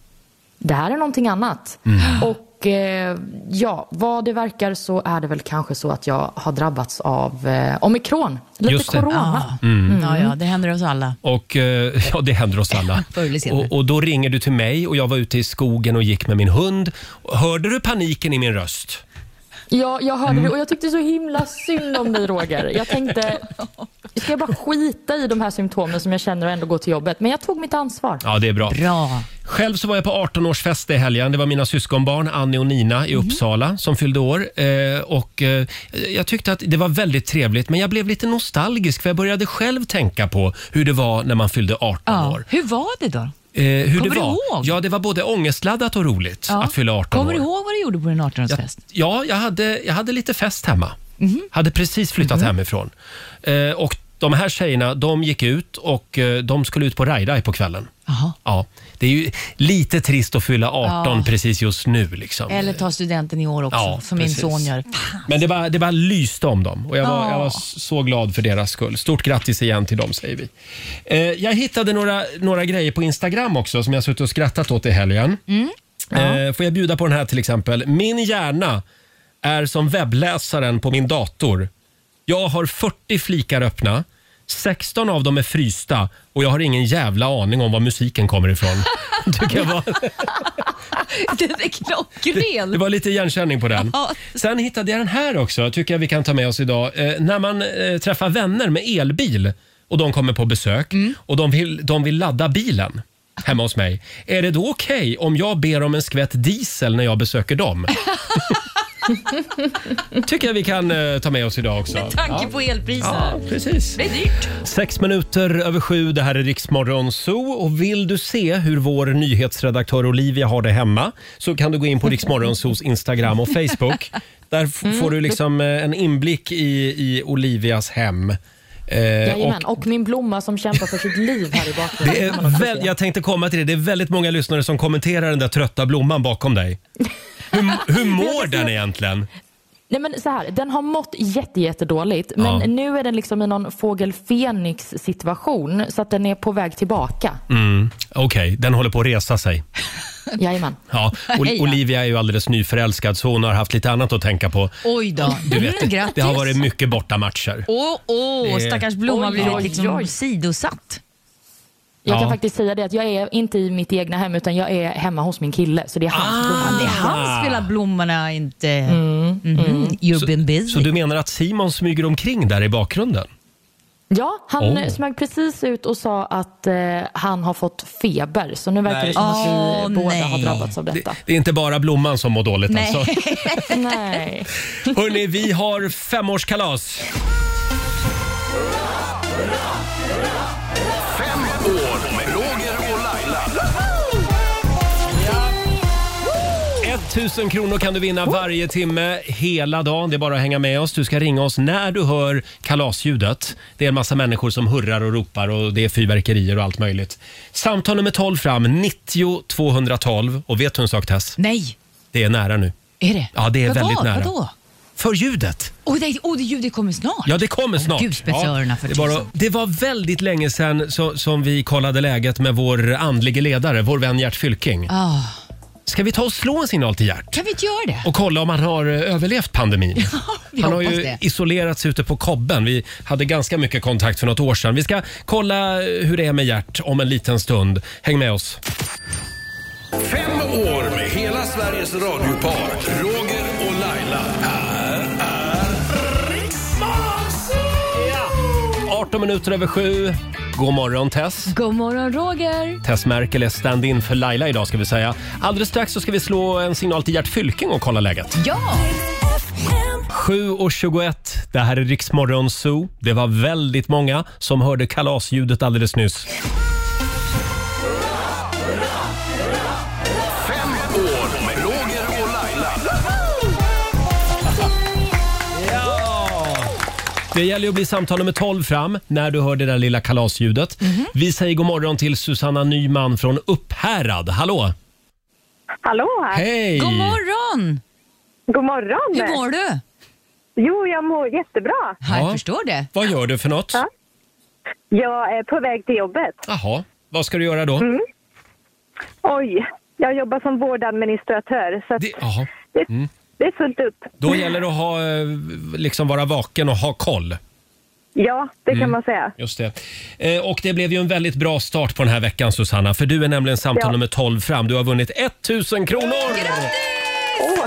S2: Det här är någonting annat.
S1: Mm.
S2: Och eh, ja, vad det verkar så är det väl kanske så att jag har drabbats av eh, omikron. Lite
S1: Just det.
S2: corona.
S1: Ah. Mm.
S8: Ja, ja, det händer oss alla.
S1: Och eh, ja, det händer oss alla.
S8: Förr eller senare.
S1: Och, och då ringer du till mig och jag var ute i skogen och gick med min hund. Hörde du paniken i min röst?
S2: Ja, jag hörde
S1: Mm.
S2: det och jag tyckte så himla synd om dig Roger. Jag tänkte, ska jag bara skita i de här symptomen som jag känner och ändå gå till jobbet? Men jag tog mitt ansvar.
S1: Ja, det är bra.
S8: Bra.
S1: Själv så var jag på 18-årsfest i helgen. Det var mina syskonbarn Annie och Nina
S8: Mhm.
S1: i Uppsala som fyllde år. Eh, och, eh, jag tyckte att det var väldigt trevligt men jag blev lite nostalgisk för jag började själv tänka på hur det var när man fyllde 18
S8: Ja.
S1: år.
S8: Hur var det då?
S1: Eh, hur
S8: Kommer
S1: det
S8: du
S1: var.
S8: ihåg?
S1: Ja, det var både ångestladdat och roligt att fylla 18
S8: Kommer
S1: år.
S8: du ihåg vad du gjorde på din 18-årsfest?
S1: Ja, jag hade, jag hade lite fest hemma.
S8: Mhm.
S1: Hade precis flyttat hemifrån. Eh, och de här tjejerna, de gick ut och eh, de skulle ut på Rajdaj på kvällen.
S8: Jaha.
S1: Ja, det är ju lite trist att fylla 18
S8: Ja.
S1: precis just nu. Liksom.
S8: Eller ta studenten i år också,
S1: Ja,
S8: som min
S1: precis.
S8: son gör.
S1: Men det bara, det bara lyste om dem och jag var,
S8: Ja.
S1: jag var s- så glad för deras skull. Stort grattis igen till dem säger vi. Eh, jag hittade några, några grejer på Instagram också som jag suttit och skrattat åt i helgen. Eh, får jag bjuda på den här till exempel. Min hjärna är som webbläsaren på min dator. Jag har 40 flikar öppna. 16 av dem är frysta och jag har ingen jävla aning om var musiken kommer ifrån. Tycker jag var,
S8: Den är klockren.
S1: det var lite igenkänning på den.
S8: Ja.
S1: Sen hittade jag den här också, tycker jag vi kan ta med oss idag. Eh, när man eh, träffar vänner med elbil och de kommer på besök och de vill, de vill ladda bilen hemma hos mig. Är det då okej om jag ber om en skvätt diesel när jag besöker dem? tycker jag vi kan eh, ta med oss idag också.
S5: Med tanke
S1: Ja.
S5: på elpriser.
S1: Ja, precis.
S5: Det är dyrt.
S1: Sex minuter över sju, det här är Riksmorgon Zoo. Och vill du se hur vår nyhetsredaktör Olivia har det hemma så kan du gå in på Riksmorgon Zoos Instagram och Facebook. Där f- får du liksom eh, en inblick i, i Olivias hem. Eh, och
S2: Jajamän, och, min blomma som kämpar för sitt liv här i bakgrunden.
S1: det
S2: kan man också
S1: är
S2: se.
S1: väl, jag tänkte komma till det, det är väldigt många lyssnare som kommenterar den där trötta blomman bakom dig. Hur, hur mår den egentligen?
S2: Nej men så här, den har mått jätte, jättedåligt men
S1: Ja.
S2: nu är den liksom i någon fågel Fenix situation så att den är på väg tillbaka.
S1: Mm, Okej, den håller på att resa sig. Mm.
S2: Jajamän.
S1: Ja, Ol- Olivia är ju alldeles nyförälskad så hon har haft lite annat att tänka på.
S8: Oj då.
S1: Du vet,
S8: Mm,
S1: det,
S8: grattis.
S1: det har varit mycket bortamatcher.
S8: Åh, åh,
S1: Det-
S8: stackars Blomma
S2: Oj,
S8: blir
S2: oj,
S8: liksom
S2: oj.
S8: sidosatt.
S2: Jag
S1: Ja.
S2: kan faktiskt säga det att jag är inte i mitt egna hem utan jag är hemma hos min kille så det är hans
S1: Ah.
S2: blomma.
S8: Det är han som spelar blommorna, inte... Mm. You've been busy.
S1: Så du menar att Simon smyger omkring där i bakgrunden?
S2: Ja, han
S1: Oh.
S2: eh, smög precis ut och sa att eh, han har fått feber så nu verkar det som att vi
S8: Åh,
S2: båda har
S8: nej.
S2: drabbats av
S1: Det,
S2: detta.
S1: det är inte bara blomman som mår dåligt
S8: Nej.
S1: alltså.
S2: Nej.
S1: Hörni, vi har femårskalas.
S4: Fem år med Roger och Laila.
S1: 1000 kronor kan du vinna varje timme hela dagen. Det är bara att hänga med oss. Du ska ringa oss när du hör kalasljudet. Det är en massa människor som hurrar och ropar och det är fyrverkerier och allt möjligt. Samtal nummer 12 fram, 90 212. Och vet du en sak Tess?
S8: Nej,
S1: Det är nära nu.
S8: är det?
S1: Ja, det är
S8: Vadå?
S1: väldigt nära.
S8: Vadå?
S1: För ljudet!
S8: Åh, det, oh, det ljudet kommer snart.
S1: Ja, det kommer snart.
S8: Gud, spetsa
S1: ja,
S8: öronen för
S1: det, är bara,
S8: tusan.
S1: det var väldigt länge sedan så, som vi kollade läget med vår andlige ledare, vår vän Gert Fylking.
S8: Ah.
S1: Ska vi ta och slå en signal till Gert?
S8: Kan vi inte göra det?
S1: Och kolla om han har eh, överlevt pandemin.
S8: vi
S1: han har
S8: hoppas
S1: ju
S8: det.
S1: isolerats ute på kobben. Vi hade ganska mycket kontakt för något år sedan. Vi ska kolla eh, hur det är med Gert om en liten stund. Häng med oss.
S4: Fem år med hela Sveriges radiopar. Roger och Laila. Här är Riksmorgon
S1: 18 minuter över sju. God morgon Tess.
S8: God morgon Roger.
S1: Tess Merkel är stand-in för Laila idag ska vi säga. Alldeles strax så ska vi slå en signal till Gert Fylking och kolla läget.
S8: Ja,
S1: 7.21, det här är Riksmorgon Zoo. Det var väldigt många som hörde kalasljudet alldeles nyss.
S4: Fem år med Roger och Laila.
S1: Det gäller ju att bli samtal nummer 12 fram när du hör det där lilla kalasljudet.
S11: Mhm.
S1: Vi säger god morgon till Susanna Nyman från Upphärad. Hallå!
S11: Hallå!
S1: Hej!
S8: God morgon!
S11: God morgon!
S8: Hur mår du?
S11: Jo, jag mår jättebra.
S1: Ja. Vad gör du för något?
S11: Ja. Jag är på väg till jobbet.
S1: Jaha, vad ska du göra då?
S11: Mm. Oj, jag jobbar som vårdadministratör så att
S1: Jaha.
S11: det,
S1: Mm.
S11: det är fullt upp.
S1: Då gäller det att ha, eh, liksom vara vaken och ha koll.
S11: Ja, det kan
S1: Mm.
S11: man säga.
S1: Just det. Eh, Och det blev ju en väldigt bra start på den här veckan Susanna, för du är nämligen samtal
S11: Ja.
S1: nummer 12 fram. Du har vunnit 1000 kronor!
S11: Åh.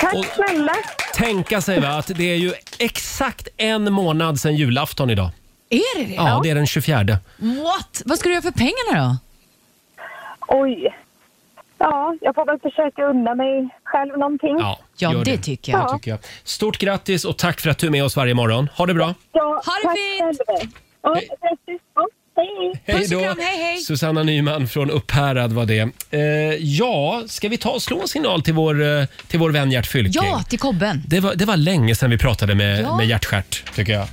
S11: Tack snälla!
S1: Tänka sig va, att det är ju exakt en månad sedan julafton idag.
S8: Är det det?
S1: Ja, det är den 24.
S8: What? Vad ska du göra för pengarna då?
S11: Oj. Ja, jag får väl försöka unna mig själv någonting.
S1: Ja, gör Det
S11: Ja,
S1: tycker jag. Stort grattis och tack för att du är med oss varje morgon. Ha det bra!
S11: ja, ha det fint! Hej!
S1: Hej då! Susanna Nyman från Upphärad var det. Eh, ja, ska vi ta och slå en signal till vår, eh, till vår vän Gert Fylking?
S8: Ja, till kobben.
S1: Det var, det var länge sedan vi pratade med,
S8: Ja.
S1: med Gert Stjärt, tycker jag.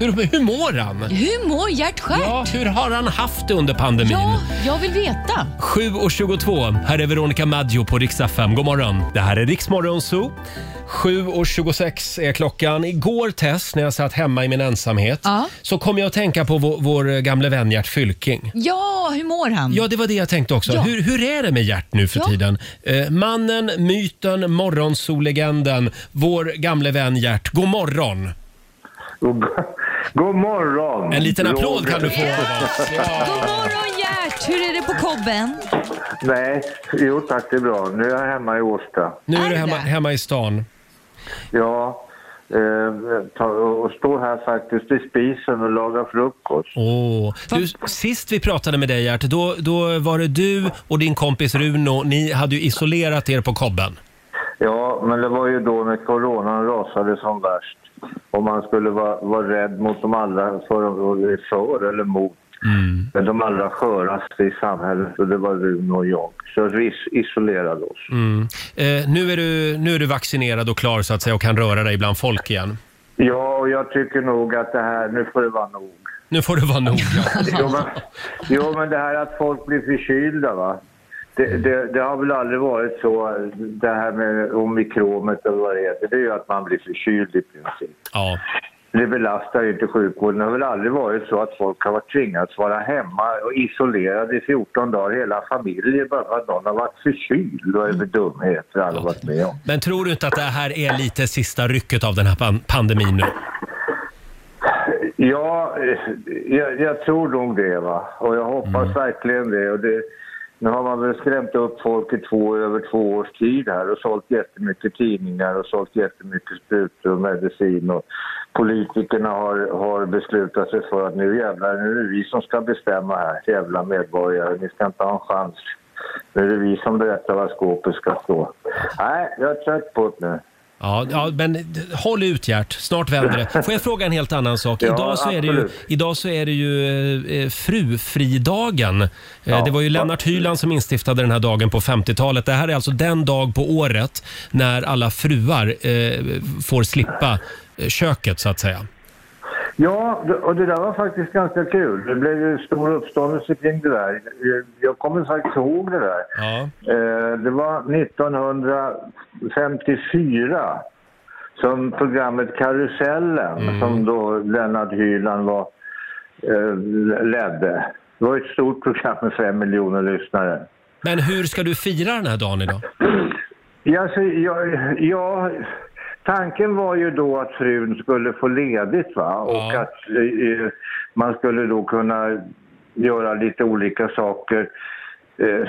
S1: Hur, hur mår han?
S8: Hur mår Gert Stjärt?
S1: Ja, hur har han haft det under pandemin?
S8: Ja, jag vill veta.
S1: 7.22, här är Veronica Maggio på Rix FM. God morgon! Det här är Rix Morgon Zoo. 7.26 är klockan. Igår Tess, när jag satt hemma i min ensamhet,
S8: Ja.
S1: så kom jag att tänka på vår, vår eh, gamle vän Gert Fylking.
S8: Ja, hur mår han?
S1: Ja, det var det jag tänkte också.
S8: Mm. Ja.
S1: Hur, hur är det med Gert nu för
S8: Ja.
S1: tiden? Eh, mannen, myten, morgonsolegenden, vår gamle vän Gert. God morgon!
S12: God, god morgon!
S1: En liten
S12: Roger.
S1: applåd kan du få av oss.
S8: Morgon Gert, hur är det på kobben?
S12: Nej, jo tack det är bra. Nu är jag hemma i Årsta.
S1: Nu är du hemma, hemma i stan.
S12: Ja, eh, ta, och står här faktiskt i spisen och lagar frukost.
S1: Åh. Du, sist vi pratade med dig Gert, då, då var det du och din kompis Runo. Ni hade ju isolerat er på kobben.
S12: Ja, men det var ju då när coronan rasade som värst. Och man skulle vara, vara rädd mot de allra, för, för eller mot, men eh, de allra sköraste i samhället. Och det var Rune och jag. Så vi is- isolerade oss.
S1: Mm. Eh, nu, är du, nu är du vaccinerad och klar så att säga och kan röra dig bland folk igen.
S12: Ja, och jag tycker nog att det här, nu får det vara nog.
S1: Nu får det vara nog.
S12: Jo men, jo, men det här att folk blir förkylda, va. Det, det, det har väl aldrig varit så, det här med omikromet eller vad det heter, det är ju att man blir förkyld i princip.
S1: Ja.
S12: Det belastar ju inte sjukvården. Det har väl aldrig varit så att folk har varit tvingats vara hemma och isolerade i 14 dagar, hela familjer, bara för att någon har varit förkyld. Vad är det för dumheter alla har varit med om?
S1: Men tror du inte att det här är lite sista rycket av den här pan- pandemin nu?
S12: Ja, eh, jag, jag tror nog det. Va? Och jag hoppas verkligen det. Och det. Nu har man väl skrämt upp folk i två, över två års tid här och sålt jättemycket tidningar och sålt jättemycket sprutor och medicin. Och politikerna har, har beslutat sig för att nu jävlar, nu är det vi som ska bestämma här, jävla medborgare. Ni ska inte ha en chans. Nu är det vi som berättar var skåpet ska stå. Nej, jag är trött på det nu.
S1: Ja, ja, men d- håll ut Gert, snart vänder det. Får jag fråga en helt annan sak?
S12: Ja,
S1: idag, så är det ju,
S12: absolut.
S1: idag så är det ju eh, frufridagen. Eh, det var ju Lennart Hyland som instiftade den här dagen på 50-talet. Det här är alltså den dag på året när alla fruar eh, får slippa eh, köket så att säga.
S12: Ja, och det där var faktiskt ganska kul. Det blev ju stor uppståndelse kring det där. Jag kommer faktiskt ihåg det där.
S1: Ja.
S12: Eh, Det var 1954 som programmet Karusellen, som då Lennart Hyland var, eh, ledde. Det var ett stort program med fem miljoner lyssnare.
S1: Men hur ska du fira den här dagen idag?
S12: Ja, alltså, jag, jag, tanken var ju då att frun skulle få ledigt va? och att eh, man skulle då kunna göra lite olika saker. Eh,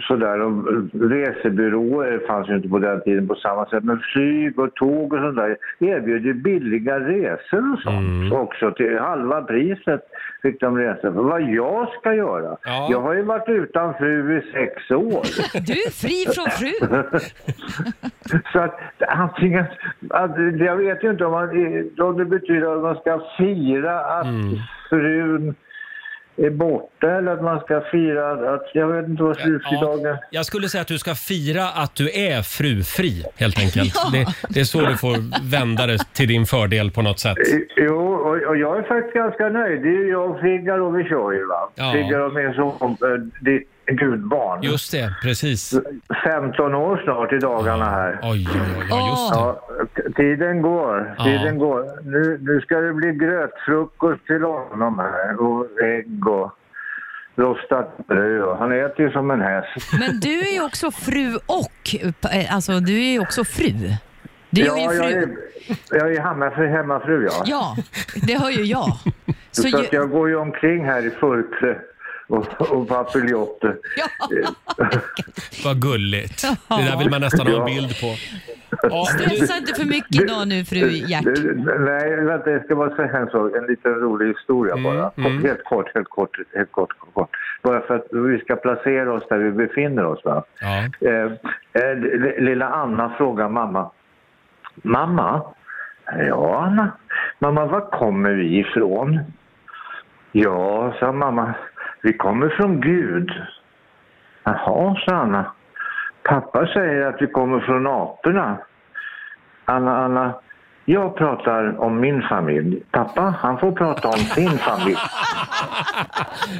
S12: sådär. Och resebyråer fanns ju inte på den tiden på samma sätt men flyg och tåg och sådär erbjöd ju billiga resor och sånt också till halva priset fick de resa för. Vad jag ska göra? Jag har ju varit utan fru i sex år.
S8: Du är fri från fru.
S12: Så att antingen, att, jag vet ju inte
S1: Mm.
S12: om, man, om det betyder att man ska fira att frun är borta eller att man ska fira att, jag vet inte vad slutdagen
S1: Ja, jag skulle säga att du ska fira att du är frufri helt enkelt.
S12: Ja.
S1: Det, det är så du får vända det till din fördel på något sätt.
S12: Jo, och, och jag är faktiskt ganska nöjd. Det är ju jag och Figaro vi kör ju va.
S1: Ja.
S12: Figaro min son, eh, ditt gudbarn.
S1: Just det, precis.
S12: 15 år snart i dagarna här.
S1: Oj, oj, oj, just
S12: det. Ja, t- tiden går.
S1: Ja.
S12: Tiden går. Nu, nu ska det bli grötfrukost till honom här och ägg och rostat bröd. och- Han äter ju som en häst.
S8: Men du är ju också fru och, eh, alltså du är ju också fru. Du
S12: ja,
S8: är ju
S12: jag
S8: fru.
S12: är, jag är hemmafru, hemmafru ja.
S8: Ja, det hör ju jag.
S12: Så,
S8: Så ju,
S12: att jag går ju omkring här i furkle och, och papiljotter. Eh,
S1: Vad gulligt.
S8: Ja.
S1: Det där vill man nästan ha en
S12: Ja.
S1: bild på.
S8: stressa inte för mycket idag nu fru Hjärt.
S12: Eh, Nej, vänta, jag ska bara säga en sak. En liten rolig historia bara. Helt kort, helt kort, helt kort, helt kort. Bara för att vi ska placera oss där vi befinner oss. Va?
S1: Ja.
S12: Eh, eh, li- lilla Anna frågar mamma. Mamma? Ja, Anna. Mamma, var kommer vi ifrån? Ja, sa mamma. Vi kommer från Gud. Jaha, sa Anna. Pappa säger att vi kommer från aporna. Anna, Anna. Jag pratar om min familj. Pappa, han får prata om sin familj.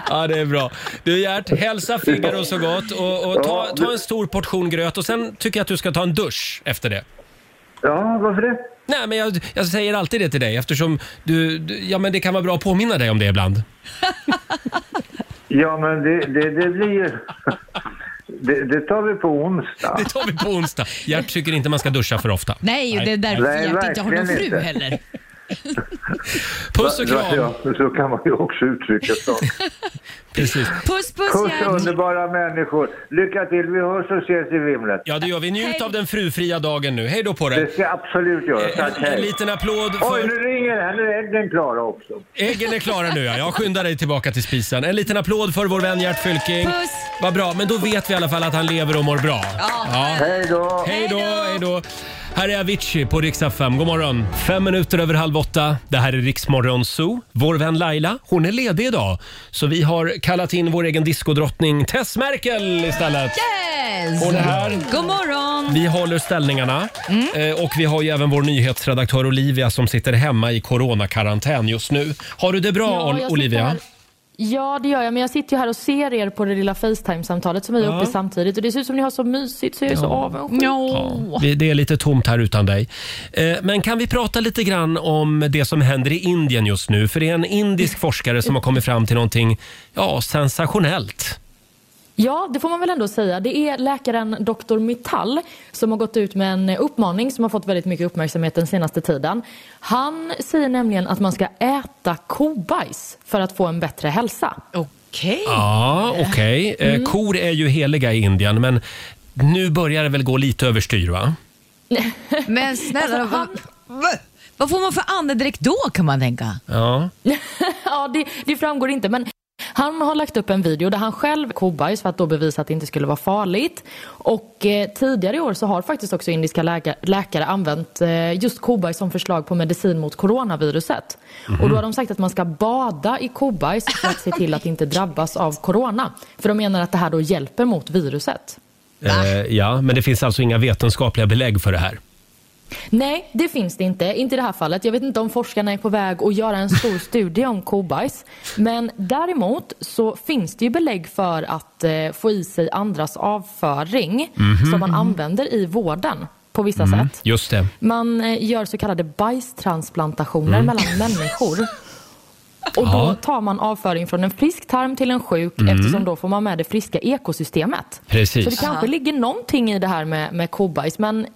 S1: Ja, det är bra. Du Gert, hälsa Figaro så gott och, och ta,
S12: Ja,
S1: ta en stor portion gröt och sen tycker jag att du ska ta en dusch efter det.
S12: Ja, varför det?
S1: Nej, men jag, jag säger alltid det till dig eftersom du, du, ja men det kan vara bra att påminna dig om det ibland.
S12: Ja, men det, det, det blir ju... Det, det tar vi på onsdag.
S1: Det tar vi på onsdag. Gert tycker inte man ska duscha för ofta.
S8: Nej, det är därför
S12: Nej,
S8: Hjärt inte har någon
S12: verkligen
S8: fru
S12: inte.
S8: heller.
S1: Puss och
S12: kram! Ja, så kan man ju också uttrycka saker.
S1: Precis.
S8: Puss, puss,
S12: Puss
S8: Gert.
S12: underbara människor! Lycka till, vi hörs och ses i vimlet.
S1: Ja, det gör vi. Njut av den frufria dagen nu. Hej då på dig.
S12: Det ska jag absolut
S1: Eh,
S12: göra. Tack,
S1: En
S12: hej.
S1: liten applåd
S12: Oj,
S1: för...
S12: nu ringer den! Nu är äggen klara också.
S1: Äggen är klara nu ja. Jag skyndar dig tillbaka till spisen. En liten applåd för vår vän Gert Fylking.
S12: Puss.
S1: Vad bra, men då vet vi i alla fall att han lever och mår bra.
S12: Hej då!
S1: Hej då, hej då. Här är Avicii på riksdag 5. God morgon. Fem minuter över halv åtta. Det här är Riksmorgon Zoo. Vår vän Laila, hon är ledig idag. Så vi har kallat in vår egen diskodrottning Tess Merkel istället.
S8: Yes!
S1: Hon är här.
S8: God morgon!
S1: Vi håller ställningarna
S2: Mm.
S1: Eh, och vi har ju även vår nyhetsredaktör Olivia som sitter hemma i coronakarantän just nu. Har du det bra
S2: Ja, jag
S1: Ol-
S2: sitter
S1: Olivia?
S2: här. Ja, det gör jag. Men jag sitter ju här och ser er på det lilla Facetime-samtalet som vi är
S1: Ja.
S2: uppe i samtidigt. Och det ser ut som ni har så mysigt så jag är så
S1: Ja.
S2: avundsjuk.
S1: Ja, vi- det är lite tomt här utan dig. Eh, Men kan vi prata lite grann om det som händer i Indien just nu? För det är en indisk forskare som har kommit fram till någonting ja, sensationellt.
S2: Ja, det får man väl ändå säga. Det är läkaren Dr. Mittal som har gått ut med en uppmaning som har fått väldigt mycket uppmärksamhet den senaste tiden. Han säger nämligen att man ska äta kobajs för att få en bättre hälsa.
S8: Okej.
S1: Ja, okej. Eh, Kor är ju heliga i Indien, men nu börjar det väl gå lite överstyr va?
S8: Men snälla, vad, vad, vad får man för andedräkt då kan man tänka?
S1: Ja.
S2: ja, det, det framgår inte. Men han har lagt upp en video där han själv kobajs för att då bevisa att det inte skulle vara farligt. Och eh, tidigare i år så har faktiskt också indiska läka, läkare använt eh, just kobajs som förslag på medicin mot coronaviruset. Och då har de sagt att man ska bada i kobajs för att se till att inte drabbas av corona. För de menar att det här då hjälper mot viruset.
S1: Eh, ja, men det finns alltså inga vetenskapliga belägg för det här.
S2: Nej, det finns det inte. Inte i det här fallet. Jag vet inte om forskarna är på väg att göra en stor studie om kobajs. Men däremot så finns det ju belägg för att eh, få i sig andras avföring
S1: Mhm.
S2: som man använder i vården på vissa
S1: Mm,
S2: sätt.
S1: just det.
S2: Man eh, gör så kallade bajstransplantationer
S1: Mm.
S2: mellan människor. Och
S1: Ja.
S2: då tar man avföring från en frisk tarm till en sjuk
S1: Mm.
S2: eftersom då får man med det friska ekosystemet.
S1: Precis.
S2: Så det kanske
S1: Aha.
S2: ligger någonting i det här med, med kobajs. Men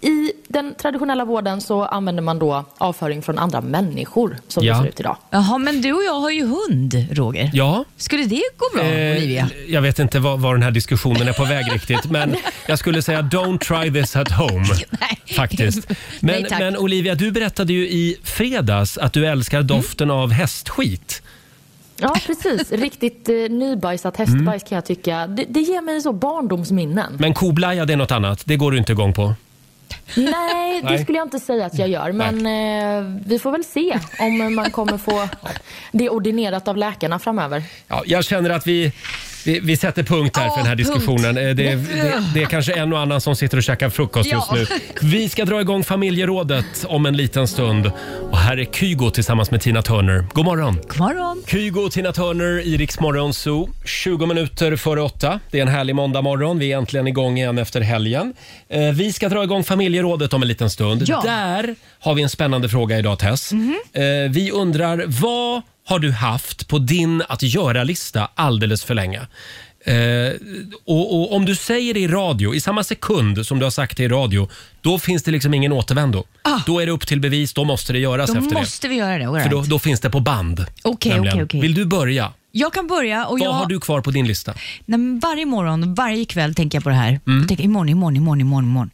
S2: i den traditionella vården så använder man då avföring från andra människor som
S1: Ja.
S2: det ser ut idag.
S8: Jaha, men du och jag har ju hund, Roger.
S1: Ja.
S8: Skulle det gå bra,
S1: Eh,
S8: Olivia?
S1: Jag vet inte var, var den här diskussionen är på väg riktigt, men jag skulle säga don't try this at home. Faktiskt. Men,
S8: Nej, tack.
S1: men Olivia, du berättade ju i fredags att du älskar doften av hästskit.
S2: Ja, precis. Riktigt eh, nybajsat hästbajs
S1: Mm.
S2: kan jag tycka. Det, det ger mig så barndomsminnen.
S1: Men koblaja, det är något annat. Det går du inte igång på.
S8: svart.
S2: Nej, det
S8: Nej.
S2: skulle jag inte säga att jag gör. Men eh, vi får väl se om man kommer få det ordinerat av läkarna framöver.
S1: Ja, jag känner att vi, vi, vi sätter punkt här för den här
S2: punkt.
S1: diskussionen. Eh, Det, det, det är kanske en och annan som sitter och käkar frukost
S4: Ja.
S1: just nu. Vi ska dra igång familjerådet om en liten stund. Och här är Kygo tillsammans med Tina Turner. God morgon!
S8: God morgon!
S1: Kygo och Tina Turner i Rix Morgon Zoo. 20 minuter före åtta. Det är en härlig måndag morgon. Vi är äntligen igång igen efter helgen. Eh, Vi ska dra igång familjerådet om en liten stund.
S4: Ja.
S1: Där har vi en spännande fråga idag Tess.
S8: Mhm.
S1: Eh, Vi undrar, vad har du haft på din att göra-lista alldeles för länge? Eh, och, och om du säger det i radio, i samma sekund som du har sagt det i radio, då finns det liksom ingen återvändo. Då är det upp till bevis, då måste det göras
S8: Ah. Då
S1: efter
S8: måste vi göra det. all
S1: det. För då,
S8: right.
S1: då finns det på band.
S8: Okej,
S1: nämligen.
S8: okej, okej.
S1: Vill du börja?
S8: Jag kan börja. Och
S1: Vad
S8: jag...
S1: har du kvar på din lista?
S8: Nej, men varje morgon, varje kväll tänker jag på det här.
S1: Mm.
S8: Jag tänker imorgon, imorgon, imorgon, imorgon, imorgon.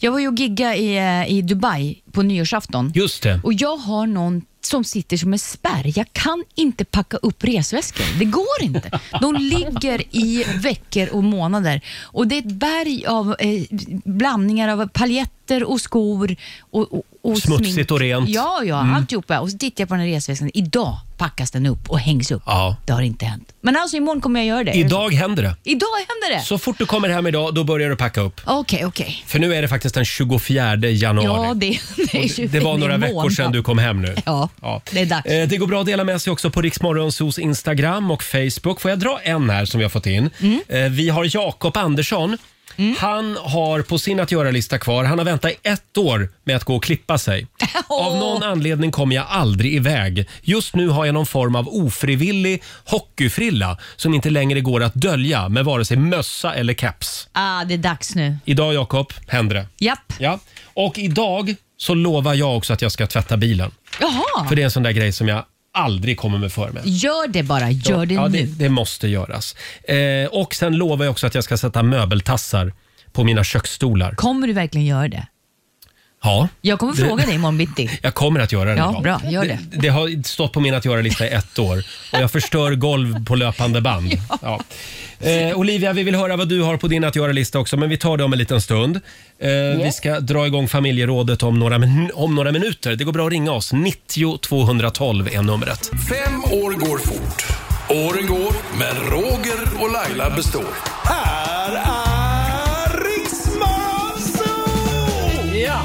S8: Jag var ju och giggade i, eh, i Dubai på nyårsafton.
S1: Just det.
S8: Och jag har någon som sitter som en spärr. Jag kan inte packa upp resväskor. Det går inte. De ligger i veckor och månader. Och det är ett berg av eh, blandningar av paljetter och skor och, och, och
S1: Smutsigt
S8: smink.
S1: och rent.
S8: Ja, ja,
S1: Mm.
S8: alltihopa. Och så tittar jag på den här resväskan. Idag packas den upp och hängs upp. Det har inte hänt. Men alltså imorgon kommer jag göra det. Är det så?
S1: Idag händer det.
S8: Idag händer det?
S1: Så fort du kommer hem idag, då börjar du packa upp.
S8: Okej, okej.
S1: För nu är det faktiskt den 24 januari.
S8: Ja, det, det är ju
S1: Det var några
S8: en
S1: veckor
S8: månad.
S1: sedan du kom hem nu.
S8: Ja, det är dags.
S1: Eh, Det går bra att dela med sig också på Riksmorgonsos Instagram och Facebook. Får jag dra en här som vi har fått in?
S8: Mm.
S1: Eh, Vi har Jakob Andersson. Han har på sin att göra-lista kvar, han har väntat i ett år med att gå och klippa sig. Av någon anledning kom jag aldrig iväg. Just nu har jag någon form av ofrivillig hockeyfrilla som inte längre går att dölja med vare sig mössa eller keps.
S8: Ah, det är dags nu.
S1: Idag, Jakob, händer det.
S8: Japp.
S1: Ja. Och idag så lovar jag också att jag ska tvätta bilen.
S8: Jaha.
S1: För det är en sån där grej som jag aldrig kommer med för mig.
S8: Gör det bara. Gör det
S1: ja,
S8: nu.
S1: Det, det måste göras. Eh, och sen lovar jag också att jag ska sätta möbeltassar på mina köksstolar.
S8: Kommer du verkligen göra det?
S1: Ja.
S8: Jag kommer
S1: Det-
S8: fråga dig imorgon bitti.
S1: Jag kommer att göra det
S8: Ja,
S1: idag.
S8: bra. Gör det.
S1: Det har stått på min att göra-lista i ett år och jag förstör golv på löpande band. Ja. Eh, Olivia, vi vill höra vad du har på din att göra-lista också, men vi tar det om en liten stund. Eh, Vi ska dra igång familjerådet om några, min- om några minuter. Det går bra att ringa oss. 90 212 är numret.
S4: Fem år går fort. Åren går, men Roger och Laila består. Här är Riksmorgon
S1: Ja.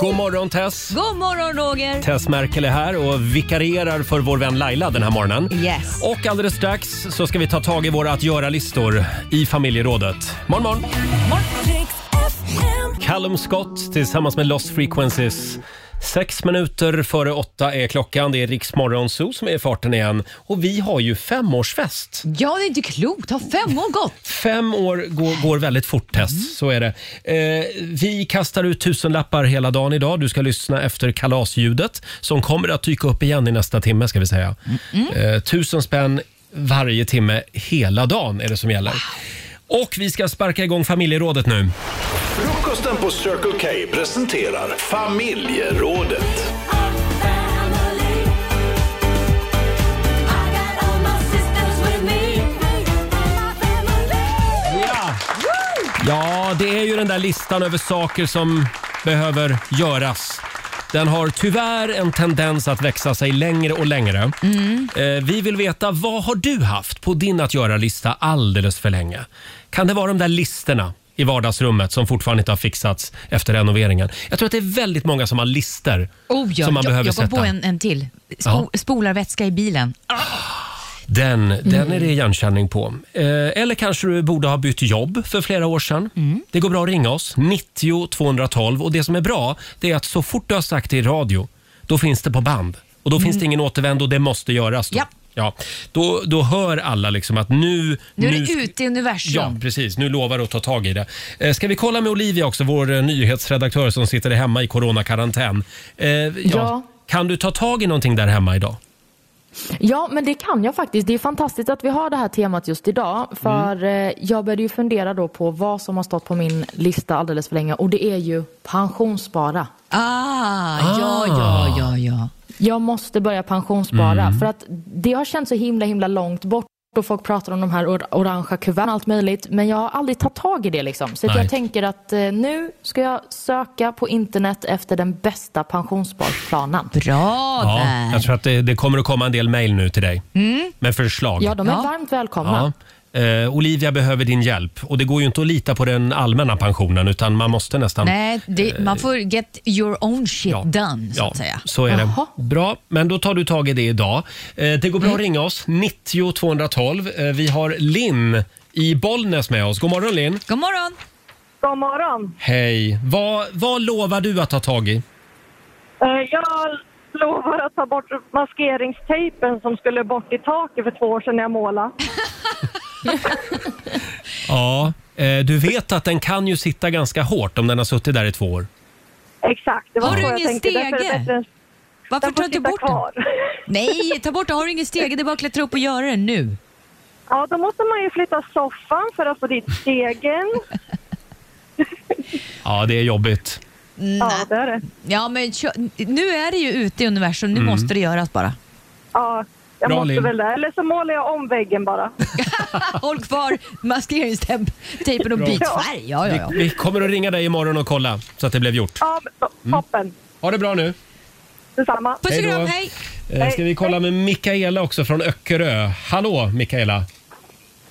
S1: God morgon Tess!
S8: God morgon Roger!
S1: Tess Merkel är här och vikarierar för vår vän Laila den här morgonen.
S8: Yes.
S1: Och alldeles strax så ska vi ta tag i våra att göra-listor i familjerådet. Morgon, morgon! Callum Scott tillsammans med Lost Frequencies. Sex minuter före åtta är klockan. Det är Riks Morgonzoo som är i farten igen. Och vi har ju femårsfest.
S8: Ja, det är inte klokt. Har fem år gått?
S1: Fem år går, går väldigt fort, Tess. Så är det. Eh, vi kastar ut tusenlappar hela dagen idag. Du ska lyssna efter kalasljudet som kommer att dyka upp igen i nästa timme. ska vi säga. Eh, tusen spänn varje timme hela dagen är det som gäller. Och vi ska sparka igång familjerådet nu.
S4: Frukosten på Circle K presenterar Familjerådet.
S1: Ja, det är ju den där listan över saker som behöver göras. Den har tyvärr en tendens att växa sig längre och längre.
S8: Mm.
S1: Eh, Vi vill veta, vad har du haft på din att göra-lista alldeles för länge? Kan det vara de där listorna i vardagsrummet som fortfarande inte har fixats efter renoveringen? Jag tror att det är väldigt många som har listor
S8: Oh, ja,
S1: som man
S8: jag,
S1: behöver
S8: jag kom
S1: sätta.
S8: på en, en till. Spo, Spolarvätska i bilen.
S1: Den,
S8: Mm.
S1: den är det igenkänning på. Eh, eller kanske du borde ha bytt jobb för flera år sedan.
S8: Mm.
S1: Det går bra att ringa oss, 90 212. Och det som är bra det är att så fort du har sagt det i radio, då finns det på band. Och då finns det ingen återvändo, och det måste göras. Då.
S8: Mm. Ja.
S1: Ja, då, då hör alla liksom att nu...
S8: Nu är det
S1: ska-
S8: ute i universum.
S1: Ja, precis. Nu lovar du att ta tag i det. Eh, Ska vi kolla med Olivia också, vår eh, nyhetsredaktör som sitter hemma i coronakarantän. Eh, ja.
S2: Ja.
S1: Kan du ta tag i någonting där hemma idag?
S2: Ja, men det kan jag faktiskt. Det är fantastiskt att vi har det här temat just idag. För eh, jag började ju fundera då på vad som har stått på min lista alldeles för länge. Och det är ju pensionsspara.
S8: Ah, ja, ja, ja, ja.
S2: Jag måste börja pensionsspara.
S8: Mm.
S2: För att det har känts så himla, himla långt bort. och folk pratar om de här or- orangea kuverten och allt möjligt. Men jag har aldrig tagit tag i det liksom. Så att
S13: Nej.
S2: jag tänker att eh, nu ska jag söka på internet efter den bästa pensionssparplanen.
S8: Bra
S1: Ja, jag tror att det, det kommer att komma en del mejl nu till dig
S2: Mm.
S1: med förslag.
S2: Ja, de är varmt välkomna.
S1: Ja. Eh, Olivia behöver din hjälp och det går ju inte att lita på den allmänna pensionen utan man måste nästan...
S8: Nej, det, man får get your own shit done, så
S1: ja,
S8: att säga.
S1: så är det. Bra, men då tar du tag i det idag. Eh, det går bra
S8: Mm.
S1: att ringa oss, 90 212. Eh, vi har Linn i Bollnäs med oss. God morgon Linn!
S8: God morgon!
S14: God morgon.
S1: Hej! Vad, vad lovar du att ta tag i?
S14: Eh, Jag lovar att ta bort maskeringstejpen som skulle bort i taket för två år sedan när jag målade.
S1: Ja, eh, du vet att den kan ju sitta ganska hårt om den har suttit där i två år.
S14: Exakt, det var
S8: Har du
S14: så jag
S8: ingen
S14: tänkte. Därför är det
S8: stege?
S14: bättre än-
S8: Varför
S14: Den får
S8: tar du inte
S14: sitta
S8: bort
S14: kvar.
S8: den? Nej, ta bort den. Har du ingen stege, det är bara att klättra upp och göra den nu.
S14: Ja, då måste man ju flytta soffan för att få dit stegen.
S1: Ja, det är jobbigt.
S8: Ja,
S14: det är det.
S8: Ja, men kö- nu är det ju ute i universum. Nu
S1: Mm.
S8: måste det göras bara.
S14: Ja, jag
S8: Bra,
S14: måste
S8: Linn.
S14: väl det. Eller så målar jag om väggen bara.
S8: Håll kvar maskeringstejpen och
S1: Bra.
S8: byt färg. Ja, ja, ja.
S1: Vi, vi kommer att ringa dig imorgon och kolla så att det blev gjort. Mm.
S14: Ja, toppen.
S1: Ha det bra nu.
S14: Detsamma.
S1: Puss och Hej då. kram, hej. Eh, Ska vi kolla med Mikaela också från Öckerö. Hallå Mikaela!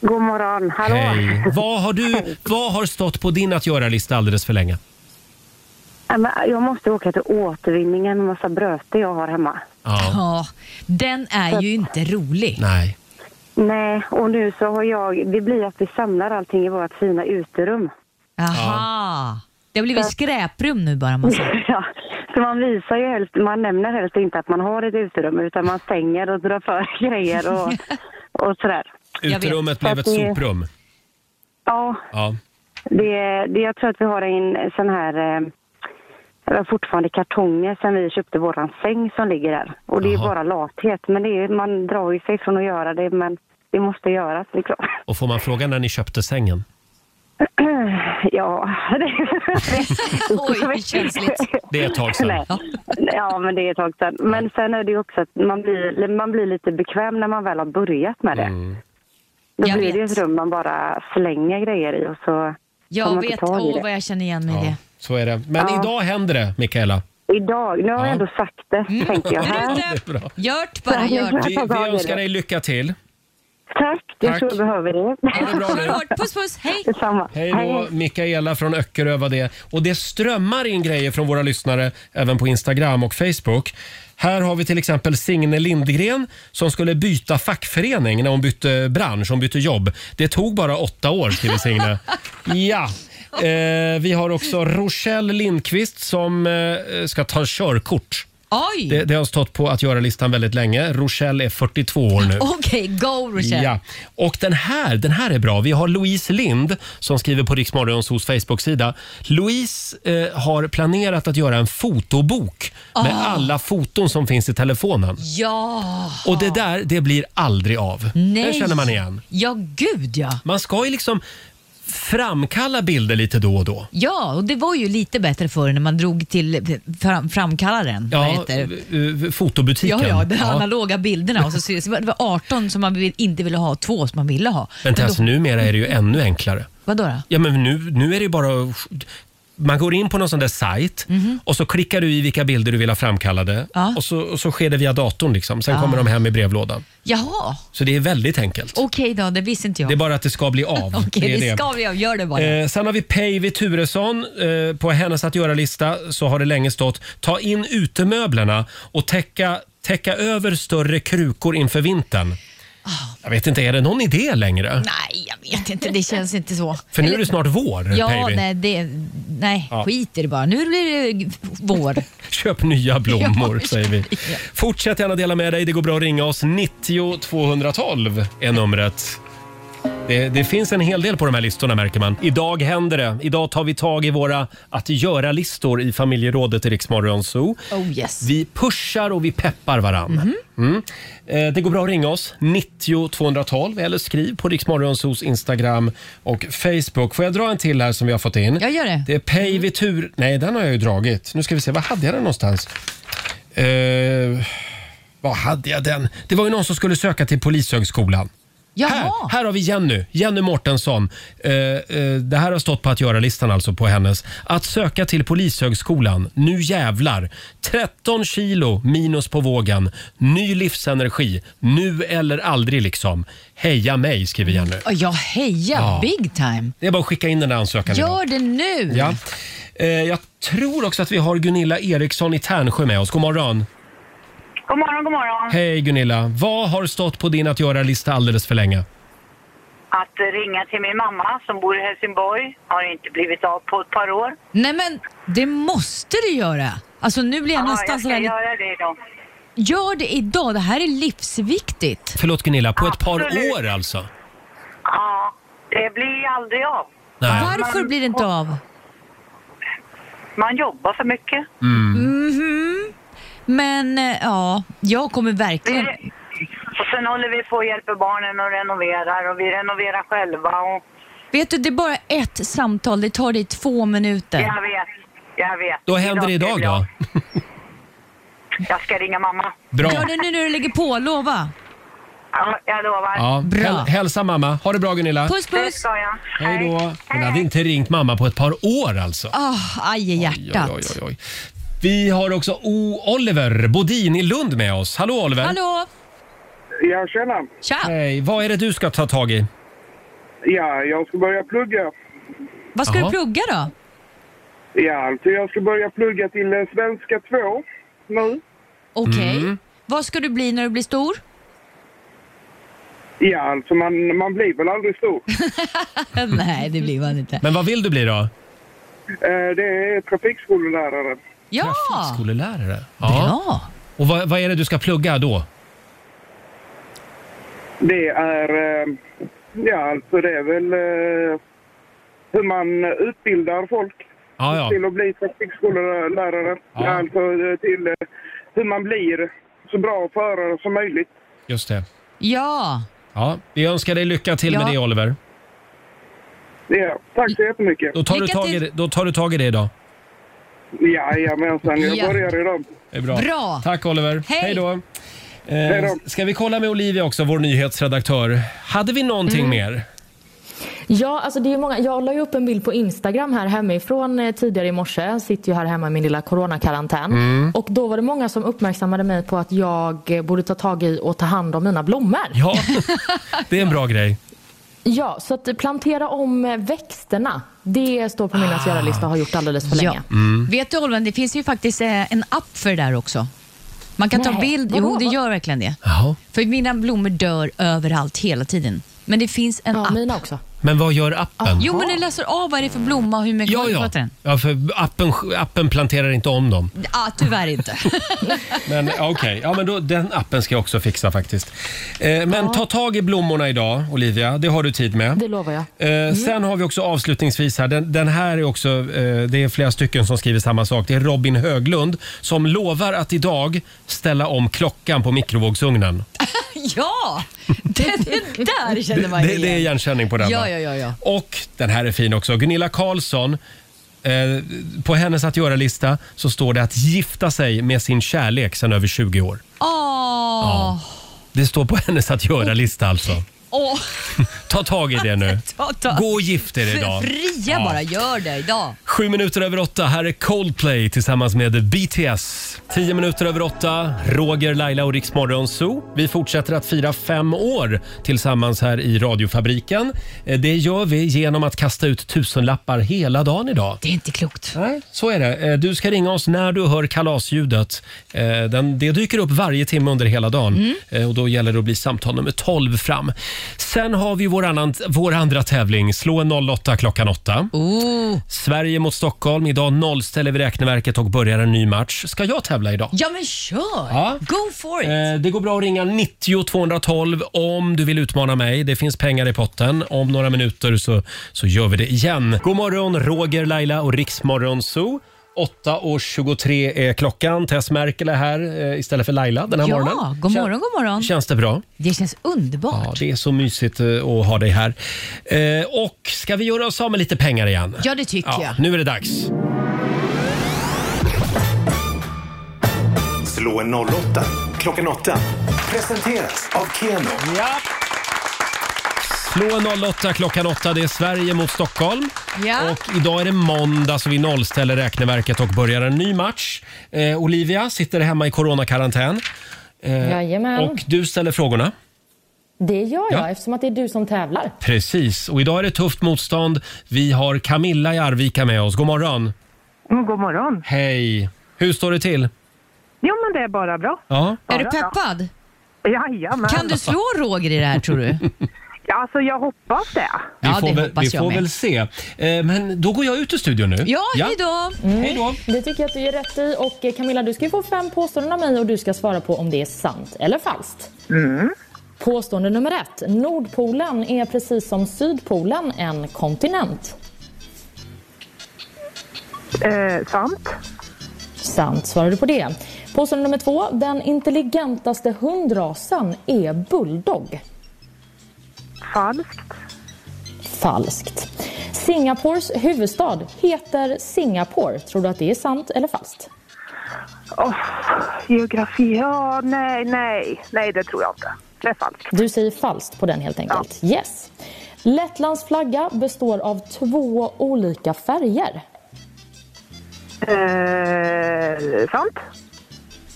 S15: God morgon, hallå.
S1: Hej! Vad har, du, vad har stått på din att göra-lista alldeles för länge?
S15: Nej, Äh, men Jag måste åka till återvinningen med massa bröte jag har hemma.
S8: Ja, den är ju inte rolig.
S1: Nej.
S15: Nej, och nu så har jag, det blir att vi samlar allting i vårt fina uterum.
S8: Aha. Det har blivit skräprum nu bara massa.
S15: Ja, så man visar ju helst, man nämner helst inte att man har ett uterum utan man stänger och drar för grejer och, och sådär.
S1: Uterummet
S15: Så
S1: blev
S15: att
S1: ett
S15: det-
S1: soprum.
S15: Ja,
S1: Ja.
S15: Det, det, jag tror att vi har en sån här... eh, vi har fortfarande kartonger sen vi köpte våran säng som ligger där. Och det är bara lathet. Men det är, man drar ju sig från att göra det, men det måste göras liksom.
S1: Och får man fråga när ni köpte sängen?
S15: ja, det... Oj, känsligt.
S1: Det är ett tag sedan.
S15: Nej. Ja, men det är ett tag sedan. Men sen är det ju också att man blir, man blir lite bekväm när man väl har börjat med det.
S1: Mm.
S15: Då
S8: Jag
S15: blir det ett rum man bara slänger grejer i och så tar
S8: Jag
S15: man inte
S8: vet,
S15: tag i
S8: åh
S15: det.
S8: vad jag känner igen mig i
S1: Ja,
S8: det.
S1: så är det. Men
S8: Ja.
S1: idag händer det, Mikaela.
S15: Idag, nu har jag ändå sagt det,
S1: Mm.
S15: tänker jag. Här.
S1: Det är bra.
S8: Gjort
S15: Så
S8: bara,
S15: här, jag
S8: gjort.
S1: Vi, vi önskar dig lycka till.
S15: Tack, det är
S1: Tack.
S15: så vi behöver det.
S1: Ha det bra nu.
S8: Puss puss, hej!
S15: Detsamma.
S1: Hej då, Mikaela från Öckerö var det. Och det strömmar in grejer från våra lyssnare även på Instagram och Facebook. Här har vi till exempel Signe Lindgren som skulle byta fackförening när hon bytte bransch, hon bytte jobb. Det tog bara åtta år, skriver Signe. Ja. Eh, vi har också Rochelle Lindqvist som eh, ska ta körkort.
S8: Oj!
S1: Det, det har stått på att göra-listan väldigt länge. Rochelle är 42 år nu.
S8: Okej, go Rochelle.
S1: Ja. Och den här, den här är bra. Vi har Louise Lind som skriver på Riksmorgons hos Facebook-sida. Louise eh, har planerat att göra en fotobok med
S8: Ah.
S1: alla foton som finns i telefonen.
S8: Ja!
S1: Och det där, det blir aldrig av.
S8: Nej.
S1: Det känner man igen.
S8: Ja, gud ja.
S1: Man ska ju liksom framkalla bilder lite då och då.
S8: Ja, och det var ju lite bättre förr när man drog till fram, framkallaren. Vad
S1: Ja,
S8: heter det?
S1: eh, fotobutiken.
S8: Ja, ja, de analoga bilderna. Och så, så var det var 18 som man vill- inte ville ha, två som man ville ha.
S1: Men
S8: Men
S1: alltså,
S8: då-
S1: numera är det ju ännu enklare.
S8: Vadå då?
S1: Ja, men nu, nu är det ju bara... Man går in på någon sån där sajt
S8: Mhm.
S1: och så klickar du i vilka bilder du vill ha framkallade och, så, och så sker det via datorn. Liksom. Sen
S8: Ah.
S1: kommer de hem i brevlådan.
S8: Jaha,
S1: Så det är väldigt enkelt.
S8: okej då, det visste inte jag.
S1: Det är bara att det ska bli av.
S8: Okej, det, ska vi göra. Gör det bara.
S1: Eh, sen har vi Päivi Turesson. Eh, på hennes att göra-lista så har det länge stått ta in utemöblerna och täcka, täcka över större krukor inför vintern. Jag vet inte, är det någon idé längre?
S8: Ah. Nej, jag vet inte. Det känns inte så.
S1: För nu är
S8: Eller-
S1: det snart vår,
S8: Ja,
S1: Päivi.
S8: nej, det, nej
S1: Ja.
S8: skit i det bara. Nu blir det vår.
S1: Köp nya blommor,
S8: Ja,
S1: säger vi. Fortsätt gärna dela med dig. Det går bra att ringa oss. 90 212 är numret. Det, det finns en hel del på de här listorna märker man. Idag händer det. Idag tar vi tag i våra att göra-listor i familjerådet i Riksmorgon Zoo.
S8: Oh yes.
S1: Vi pushar och vi peppar varann. Mm. Eh, Det går bra att ringa oss, 90 212 eller skriv på Riksmorgonsos Instagram och Facebook. Får jag dra en till här som vi har fått in?
S8: Jag gör det. Mm.
S1: Det är Päivi Tur... Nej, den har jag ju dragit. Nu ska vi se, var hade jag den någonstans? Eh, var hade jag den? Det var ju någon som skulle söka till Polishögskolan. Här, här har vi Jenny, Jenny Mårtensson. Eh, eh, det här har stått på att göra-listan alltså på hennes. Att söka till Polishögskolan, nu jävlar. 13 kilo minus på vågen, ny livsenergi, nu eller aldrig liksom. Heja mig, skriver Jenny.
S8: Ja, Jag hejar
S1: Ja.
S8: big time.
S1: Det är bara att skicka in den där ansökan idag.
S8: Gör det nu!
S1: Ja. Eh, jag tror också att vi har Gunilla Eriksson i Tärnsjö med oss. God morgon.
S13: God morgon, god morgon.
S1: Hej Gunilla. Vad har stått på din att göra-lista alldeles för länge?
S13: Att ringa till min mamma som bor i Helsingborg har inte blivit av på ett par år.
S8: Nej men, det måste du göra. Alltså nu blir jag
S13: Ja,
S8: nästan
S13: jag ska
S8: sådär... lite-
S13: göra det idag.
S8: Gör det idag, det här är livsviktigt.
S1: Förlåt Gunilla, på ett par
S13: Absolut.
S1: år alltså?
S13: Ja, det blir aldrig av.
S1: Nej.
S8: Varför blir det inte av?
S13: Man jobbar för mycket.
S8: Mhm. Men eh, ja, jag kommer verkligen...
S13: Och sen håller vi på och hjälper barnen och renoverar och vi renoverar själva. Och
S8: Vet du, det är bara ett samtal, det tar dig två minuter.
S13: jag vet, jag vet.
S1: Då händer det idag då?
S13: Jag ska ringa mamma.
S1: Bra.
S8: Gör det nu när du lägger på, lova.
S13: Ja, jag lovar.
S1: Ja. Häl- Hälsa mamma. Ha det bra Gunilla.
S8: Puss, puss. Det
S13: ska jag.
S1: Hej då. Hon hade inte ringt mamma på ett par år alltså.
S8: Oh, aj i hjärtat.
S1: Oj, oj, oj. Vi har också o Oliver Bodin i Lund med oss. Hallå Oliver!
S8: Hallå!
S16: Ja, tjena.
S8: Tja!
S1: Hej. Vad är det du ska ta tag i?
S16: Ja, jag ska börja plugga.
S8: Vad ska
S1: Jaha.
S8: du plugga då?
S16: Ja, alltså jag ska börja plugga till eh, svenska 2 nu.
S8: Okej.
S1: Mm.
S8: Vad ska du bli när du blir stor?
S16: Ja, alltså man, man blir väl aldrig stor.
S8: Nej, det blir man inte.
S1: Men vad vill du bli då?
S16: Eh, det är trafikskolelärare.
S8: Ja!
S1: Trafikskolelärare? Ja. Och vad, vad är det du ska plugga då?
S16: Det är, eh, ja alltså det är väl eh, hur man utbildar folk
S1: Ja, ja.
S16: till att bli trafikskolelärare.
S1: Ja.
S16: Alltså eh, till eh, hur man blir så bra förare som möjligt.
S1: Just det.
S8: Ja!
S1: Ja, vi önskar dig lycka till
S16: Ja.
S1: med det Oliver.
S16: Ja, tack så jättemycket.
S1: Då tar, du tag i, det- då tar du tag i det idag.
S16: Jajamensan, jag
S1: Ja.
S16: börjar idag.
S1: Det är bra.
S16: Bra.
S1: Tack Oliver.
S16: Hej.
S1: Hej då.
S16: Hej
S1: Eh,
S16: då.
S1: ska vi kolla med Olivia också, vår nyhetsredaktör. Hade vi någonting
S2: Mm.
S1: mer?
S2: Ja, alltså det är ju många. Jag la ju upp en bild på Instagram här hemifrån eh, tidigare i morse. Jag sitter ju här hemma i min lilla coronakarantän.
S1: Mm.
S2: Och då var det många som uppmärksammade mig på att jag eh, borde ta tag i och ta hand om mina blommor.
S1: Ja, det är en bra grej.
S2: Ja, så att plantera om eh, växterna. Det står på min att göra-lista och har gjort alldeles för länge.
S1: Mm.
S8: Vet du Olven, det finns ju faktiskt eh, en app för det där också. Man kan ta
S2: Nej,
S8: bild.
S2: vadå?
S8: Jo, det gör verkligen det.
S1: Jaha.
S8: För mina blommor dör överallt hela tiden. Men det finns en app.
S2: mina också.
S1: Men vad gör appen?
S8: Ah, Jo, men den läser av vad det är för blomma och hur mycket
S1: Ja,
S8: man
S1: ja.
S8: pratar den.
S1: ja för appen, appen planterar inte om dem.
S8: Ah, tyvärr inte.
S1: Men ja, okej, ja, men då, den appen ska jag också fixa faktiskt. Eh, men ta tag i blommorna idag, Olivia. Det har du tid med.
S2: Det lovar jag.
S1: Eh,
S8: Mm.
S1: Sen har vi också avslutningsvis här, den, den här är också, eh, det är flera stycken som skriver samma sak. Det är Robin Höglund som lovar att idag ställa om klockan på mikrovågsugnen.
S8: ja! Det, det där känner man ju
S1: det, det är
S8: igen.
S1: igenkänning på den
S8: Ja,
S1: va?
S8: ja, ja, ja.
S1: Och den här är fin också. Gunilla Carlsson. Eh, på hennes att göra-lista så står det att gifta sig med sin kärlek sedan över 20 år.
S8: Åh!
S1: Ja. Det står på hennes att göra-lista alltså.
S8: Åh,
S1: Ta tag i det nu.
S8: ta, ta.
S1: Gå och gift er
S8: Fri-
S1: idag.
S8: Fria bara, gör det idag.
S1: Sju minuter över åtta, här är Coldplay tillsammans med BTS. Tio minuter över åtta, Roger, Laila och Rix Morgon Zoo. Vi fortsätter att fira fem år tillsammans här i radiofabriken. Eh, Det gör vi genom att kasta ut tusenlappar hela dagen idag.
S8: Det är inte klokt.
S1: Nej, så är det. Eh, Du ska ringa oss när du hör kalasljudet. Eh, Den, det dyker upp varje timme under hela dagen Eh, och då gäller det att bli samtal nummer 12 fram. Sen har vi vår, annan, vår andra tävling, Slå en 08 klockan 8.
S8: Oh.
S1: Sverige mot Stockholm. Idag nollställer vi räkneverket och börjar en ny match. Ska jag tävla idag?
S8: Ja, men kör!
S1: Ja.
S8: Go for it!
S1: Eh, Det går bra att ringa 90 212 om du vill utmana mig. Det finns pengar i potten. Om några minuter så, så gör vi det igen. God morgon, Roger, Laila och Riksmorgon Zoo. 8.23 är klockan. Tess Merkel är här eh, istället för Laila den här
S8: ja,
S1: morgonen.
S8: god
S1: Kän-
S8: morgon, god morgon.
S1: Känns det bra?
S8: Det känns underbart.
S1: Ja, det är så mysigt eh, att ha dig här. Eh, Och ska vi göra oss av med lite pengar igen?
S8: Ja, det tycker jag.
S1: Nu är det dags.
S7: Slå en 08 klockan 8. Presenteras av Keno.
S1: Ja. Slå en 08 klockan 8. Det är Sverige mot Stockholm.
S8: Ja.
S1: Och idag är det måndag så vi nollställer räkneverket och börjar en ny match. Eh, Olivia sitter hemma i coronakarantän. Eh,
S2: Jajamän.
S1: och du ställer frågorna.
S2: Det gör jag
S1: Ja.
S2: eftersom att det är du som tävlar.
S1: Precis, och idag är det tufft motstånd. Vi har Camilla i Arvika med oss. God morgon!
S17: Mm, God morgon.
S1: Hej! Hur står det till?
S17: Jo, men det är bara bra.
S1: Ja.
S17: Bara
S8: Är du
S17: bra.
S8: peppad?
S17: Jajamän.
S8: Kan du slå Roger i det här tror du?
S17: Ja, alltså jag hoppas det.
S1: Vi får, väl, vi får väl se. Eh, Men då går jag ut ur studion nu.
S2: då! Mm. Det tycker jag att du gör rätt i. Och eh, Camilla, du ska ju få fem påståenden av mig och du ska svara på om det är sant eller falskt.
S17: Mm.
S2: Påstående nummer ett. Nordpolen är precis som Sydpolen en kontinent.
S17: Eh, sant.
S2: Sant, svarar du på det. Påstående nummer två. Den intelligentaste hundrasen är bulldog.
S17: Falskt.
S2: Falskt. Singapores huvudstad heter Singapore. Tror du att det är sant eller falskt?
S17: Åh, geografi. Ja, nej, nej. Nej, det tror jag inte. Det är falskt.
S2: Du säger falskt på den helt enkelt. Yes. Lettlands flagga består av två olika färger.
S17: Eh, sant.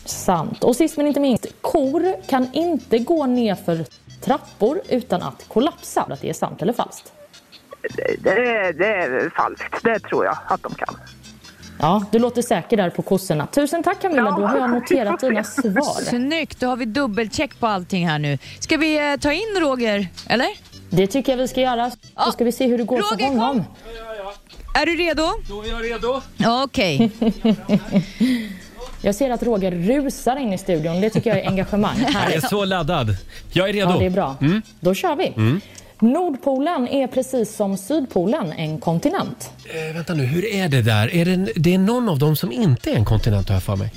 S2: Sant. Och sist men inte minst, kor kan inte gå ner för trappor utan att kollapsa. Tror du Att det är sant eller falskt?
S17: Det, det, det är falskt. Det tror jag att de kan.
S2: Ja, du låter säker där på kossorna. Tusen tack Camilla, då har jag noterat dina svar.
S8: Snyggt, då har vi dubbelcheck på allting här nu. Ska vi eh, ta in Roger, eller?
S2: Det tycker jag vi ska göra. Då ska vi se hur det går för
S8: Roger,
S2: honom.
S8: Är du redo?
S1: Då är jag redo.
S8: Ja, Okej.
S2: Jag ser att Roger rusar in i studion. Det tycker jag är engagemang.
S1: Jag är
S2: Härligt.
S1: så laddad. Jag är redo.
S2: Ja, det är bra.
S1: Mm.
S2: Då kör vi.
S1: Mm.
S2: Nordpolen är precis som Sydpolen en kontinent.
S1: Eh, vänta nu, hur är det där? Är det, det är någon av dem som inte är en kontinent har jag för mig.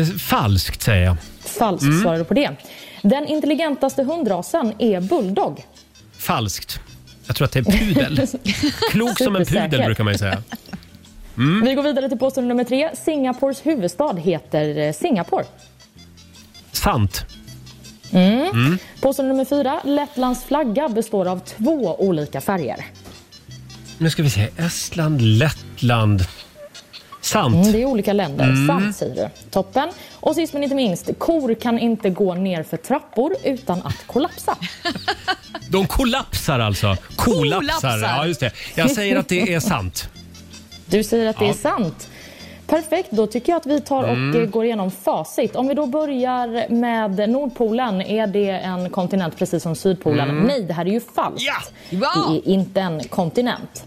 S1: Eh, falskt säger jag.
S2: Falskt
S1: Mm.
S2: svarar du på det. Den intelligentaste hundrasen är bulldog.
S1: Falskt. Jag tror att det är pudel. Klok som en pudel
S2: Supersäker.
S1: brukar man ju säga. Mm.
S2: Vi går vidare till påstående nummer tre. Singapores huvudstad heter eh, Singapore.
S1: Sant.
S2: Mm.
S1: Mm.
S2: Påstående nummer fyra. Lettlands flagga består av två olika färger.
S1: Nu ska vi se. Estland, Lettland. Sant.
S2: Mm, det är olika länder.
S1: Mm.
S2: Sant säger du. Toppen. Och sist men inte minst. Kor kan inte gå ner för trappor utan att kollapsa.
S1: De kollapsar alltså. Kolapsar.
S2: Kolapsar.
S1: Ja, just det. Jag säger att det är sant.
S2: Du säger att det
S1: Ja.
S2: är sant. Perfekt, då tycker jag att vi tar och
S1: Mm.
S2: eh, går igenom facit. Om vi då börjar med Nordpolen. Är det en kontinent precis som Sydpolen?
S18: Mm.
S2: Nej, det här är ju falskt. Det är inte en kontinent.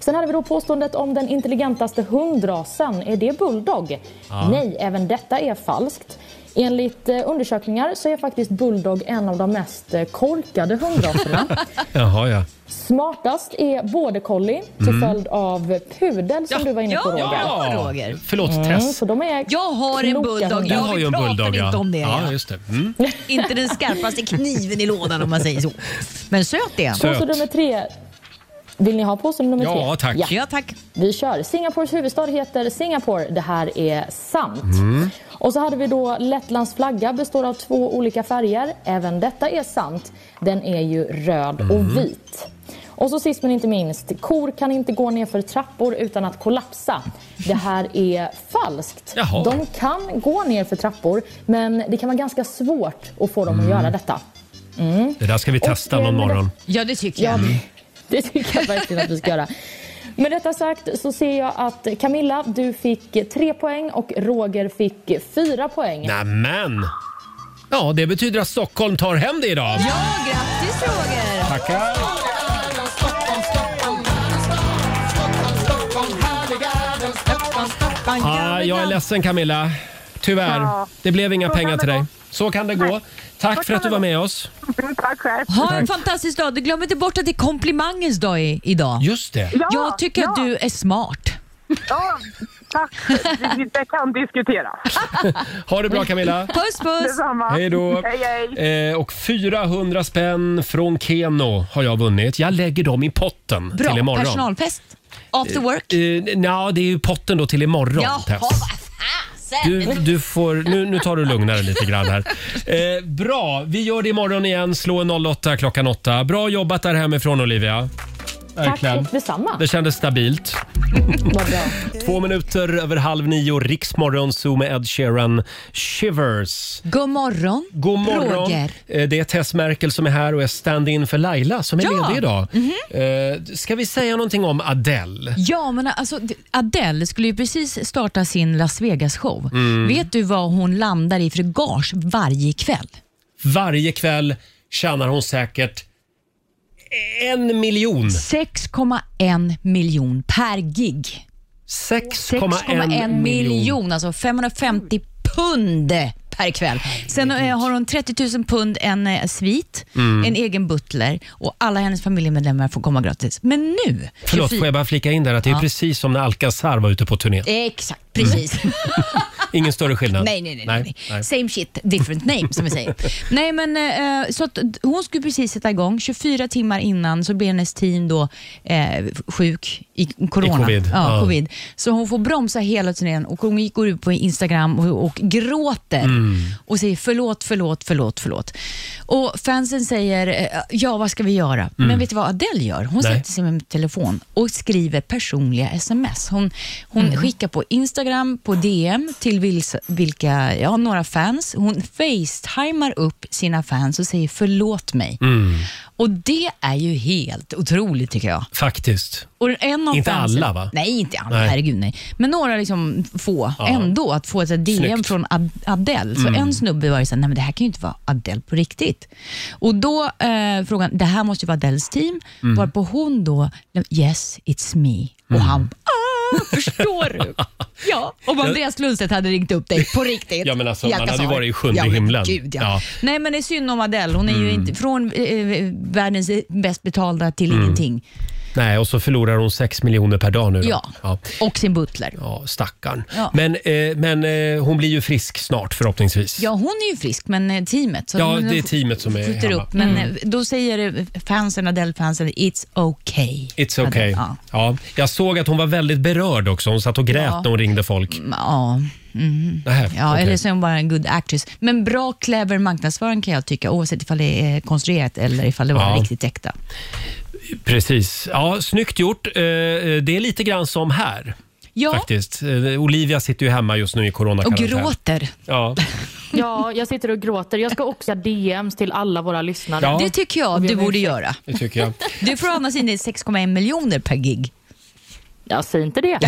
S2: Sen hade vi då påståendet om den intelligentaste hundrasen. Är det bulldog?
S18: Ja.
S2: Nej, även detta är falskt. Enligt eh, undersökningar så är faktiskt bulldog en av de mest eh, korkade hundraserna.
S1: Jaha, ja.
S2: Smartast är border collie till
S1: Mm.
S2: följd av pudel som du var inne på Roger.
S1: Ja, Roger. Förlåt, Tess.
S2: så de är
S8: Jag har en
S2: kloka
S8: bulldog.
S2: hundar.
S8: Jag har ju en bulldog. Mm. Pratar inte om det,
S1: ja.
S8: ja.
S1: just det. Mm.
S8: Inte den skarpaste kniven i lådan om man säger så. Men söt är han.
S2: Påstående nummer tre. Vill ni ha påstående nummer tre?
S8: Ja, tack. Ja, tack.
S2: Vi kör. Singapores huvudstad heter Singapore. Det här är sant.
S18: Mm.
S2: Och så hade vi då Lettlands flagga består av två olika färger. Även detta är sant. Den är ju röd
S18: Mm.
S2: och vit. Och så sist men inte minst, kor kan inte gå ner för trappor utan att kollapsa. Det här är falskt.
S18: Jaha.
S2: De kan gå ner för trappor, men det kan vara ganska svårt att få dem att
S1: Mm.
S2: göra detta. Mm.
S1: Det där ska vi testa någon morgon.
S8: Ja, det tycker
S2: jag. det tycker jag verkligen att vi ska göra. Med detta sagt så ser jag att Camilla, du fick tre poäng och Roger fick fyra poäng.
S1: Nämen! Ja, det betyder att Stockholm tar hem det idag.
S8: Ja, grattis Roger!
S1: Tackar! Ah, jag är ledsen Camilla. Tyvärr.
S8: Ja.
S1: Det blev inga
S8: Så kan
S1: pengar
S8: det
S1: till dig.
S8: gå.
S1: Så kan det gå.
S8: Nej. Så
S1: Tack för
S8: kan
S1: att du
S8: det
S1: var
S8: gå.
S1: med oss.
S17: Tack själv.
S8: Ha en
S1: Tack.
S8: fantastisk dag. Du glöm inte bort att det är komplimangens dag i, idag.
S1: Just det.
S17: Ja,
S8: jag tycker att du är smart.
S17: Ja, tack. Det- Det kan diskuteras.
S1: Ha det bra Camilla.
S8: Puss puss!
S17: Detsamma.
S1: Hej då!
S17: Hej, hej.
S1: Eh, och 400 spänn från Keno har jag vunnit. Jag lägger dem i potten
S8: Bra
S1: till imorgon.
S8: personalfest. After work.
S1: Eh, eh, nja, det är ju potten då till imorgon
S8: Jaha,
S1: Tess.
S8: vad
S1: Du, du får, nu, nu tar du lugnare lite grann här. Eh, bra, vi gör det imorgon igen. Slå en 08 klockan 8. Bra jobbat där hemifrån Olivia. Verkligen.
S2: Tack detsamma.
S1: Det kändes stabilt.
S2: Vad bra.
S1: Två minuter över halv nio, Riksmorgon Zoo med Ed Sheeran, Shivers.
S8: God morgon.
S1: God morgon.
S8: Roger.
S1: Eh, Det är Tess Merkel som är här och är stand-in för Laila som är
S8: Ja. Mhm.
S1: ledig idag. Eh, Ska vi säga någonting om Adele?
S8: Ja, men alltså d- Adele skulle ju precis starta sin Las Vegas-show.
S1: Mm.
S8: Vet du vad hon landar i för gage varje kväll?
S1: Varje kväll tjänar hon säkert en miljon.
S8: 6,1 miljon per gig. 6,1 miljon, alltså 550 pund per kväll. Sen eh, har hon 30 000 pund en eh, svit,
S1: Mm.
S8: en egen butler och alla hennes familjemedlemmar får komma gratis. Men nu...
S1: Förlåt,
S8: 24
S1: får jag bara flika in där att det är
S8: Ja.
S1: precis som när Alcazar var ute på turné.
S8: Exakt, precis.
S1: Ingen större skillnad.
S8: Nej, nej, nej, nej, nej. Same shit, different name som vi säger. nej, men eh, så att hon skulle precis sätta igång. 24 timmar innan så blir hennes team då eh, sjuk i corona.
S18: I covid,
S8: Ja,
S18: ja.
S8: covid. Så hon får bromsa hela turnén och hon går ut på Instagram och, och gråter
S18: Mm.
S8: och säger förlåt, förlåt, förlåt, förlåt. Och fansen säger, eh, ja vad ska vi göra? Men vet du vad Adele gör? Hon
S18: Mm. Nej.
S8: sätter sig med telefon och skriver personliga sms. Hon, hon
S18: Mm.
S8: skickar på Instagram, på DM till vils, vilka, ja, några fans. Hon facetimar upp sina fans och säger förlåt mig.
S1: Mm.
S8: Och det är ju helt otroligt tycker jag.
S1: Faktiskt.
S8: Och en av
S1: Inte
S8: fansen,
S1: alla, va?
S8: Nej, inte alla.
S1: Nej.
S8: Herregud, nej. Men några liksom få
S1: Ja.
S8: ändå. Att få ett så här DM
S1: Snyggt.
S8: från Ad- Adele. Så
S18: Mm.
S8: en snubbe var ju såhär, nej men det här kan ju inte vara Adele på riktigt. Och då eh, frågan, det här måste ju vara Adeles team.
S18: Mm.
S8: Varpå hon då, yes it's me. Och
S1: Mm.
S8: han, ah, förstår du? Ja, om
S1: Jag-
S8: Andreas Lundstedt hade ringt upp dig på riktigt.
S1: Ja, men alltså,
S8: Jag
S1: man
S8: kan
S1: hade ju
S8: sa-
S1: varit i sjunde
S8: ja, men
S1: himlen.
S8: Gud, ja.
S1: Ja.
S8: Nej, men det är synd om Adele. Hon är ju
S1: Mm.
S8: inte från eh, världens bäst betalda till
S1: Mm.
S8: ingenting.
S1: Nej, och så förlorar hon 6 miljoner per dag nu. då.
S8: Ja. Och sin butler.
S1: Ja, stackarn.
S8: Ja.
S1: Men, eh, men eh, hon blir ju frisk snart förhoppningsvis.
S8: Ja, hon är ju frisk, men eh, teamet. Så
S1: Ja,
S8: de
S1: det är
S8: f-
S1: teamet som är
S8: skjuter
S1: hemma.
S8: upp. Men
S1: Mm.
S8: eh, då säger eh, fansen, Adele-fansen, it's okay.
S1: It's okay.
S8: Ja.
S1: Ja. Jag såg att hon var väldigt berörd också. Hon satt och grät
S8: Ja.
S1: när hon ringde folk.
S8: Ja, mm.
S1: Nähä,
S8: ja
S1: okej.
S8: eller så är hon bara en good actress. Men bra, clever marknadsföring kan jag tycka, oavsett ifall det är konstruerat eller ifall det var
S1: Ja.
S8: riktigt äkta.
S1: Precis. Ja, snyggt gjort. Eh, Det är lite grann som här.
S8: Ja.
S1: Faktiskt. Eh, Olivia sitter ju hemma just nu i coronakarantän. Ja.
S2: Ja, jag sitter och gråter. Jag ska också göra DMs till alla våra lyssnare.
S1: Ja. Det tycker
S8: jag
S2: Och be
S8: du
S2: om
S8: borde
S2: ursäkt.
S8: göra.
S1: Det tycker jag.
S8: Du får å andra sidan 6,1 miljoner per gig.
S2: Jag säger inte det.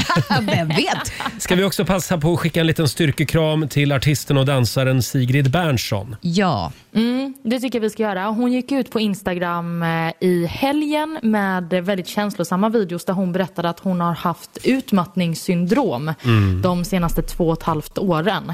S8: Vem vet?
S1: Ska vi också passa på att skicka en liten styrkekram till artisten och dansaren Sigrid Bernson?
S8: Ja.
S2: Mm, det tycker jag vi ska göra. Hon gick ut på Instagram eh, i helgen med eh, väldigt känslosamma videos där hon berättade att hon har haft utmattningssyndrom
S18: Mm.
S2: de senaste två och ett halvt åren.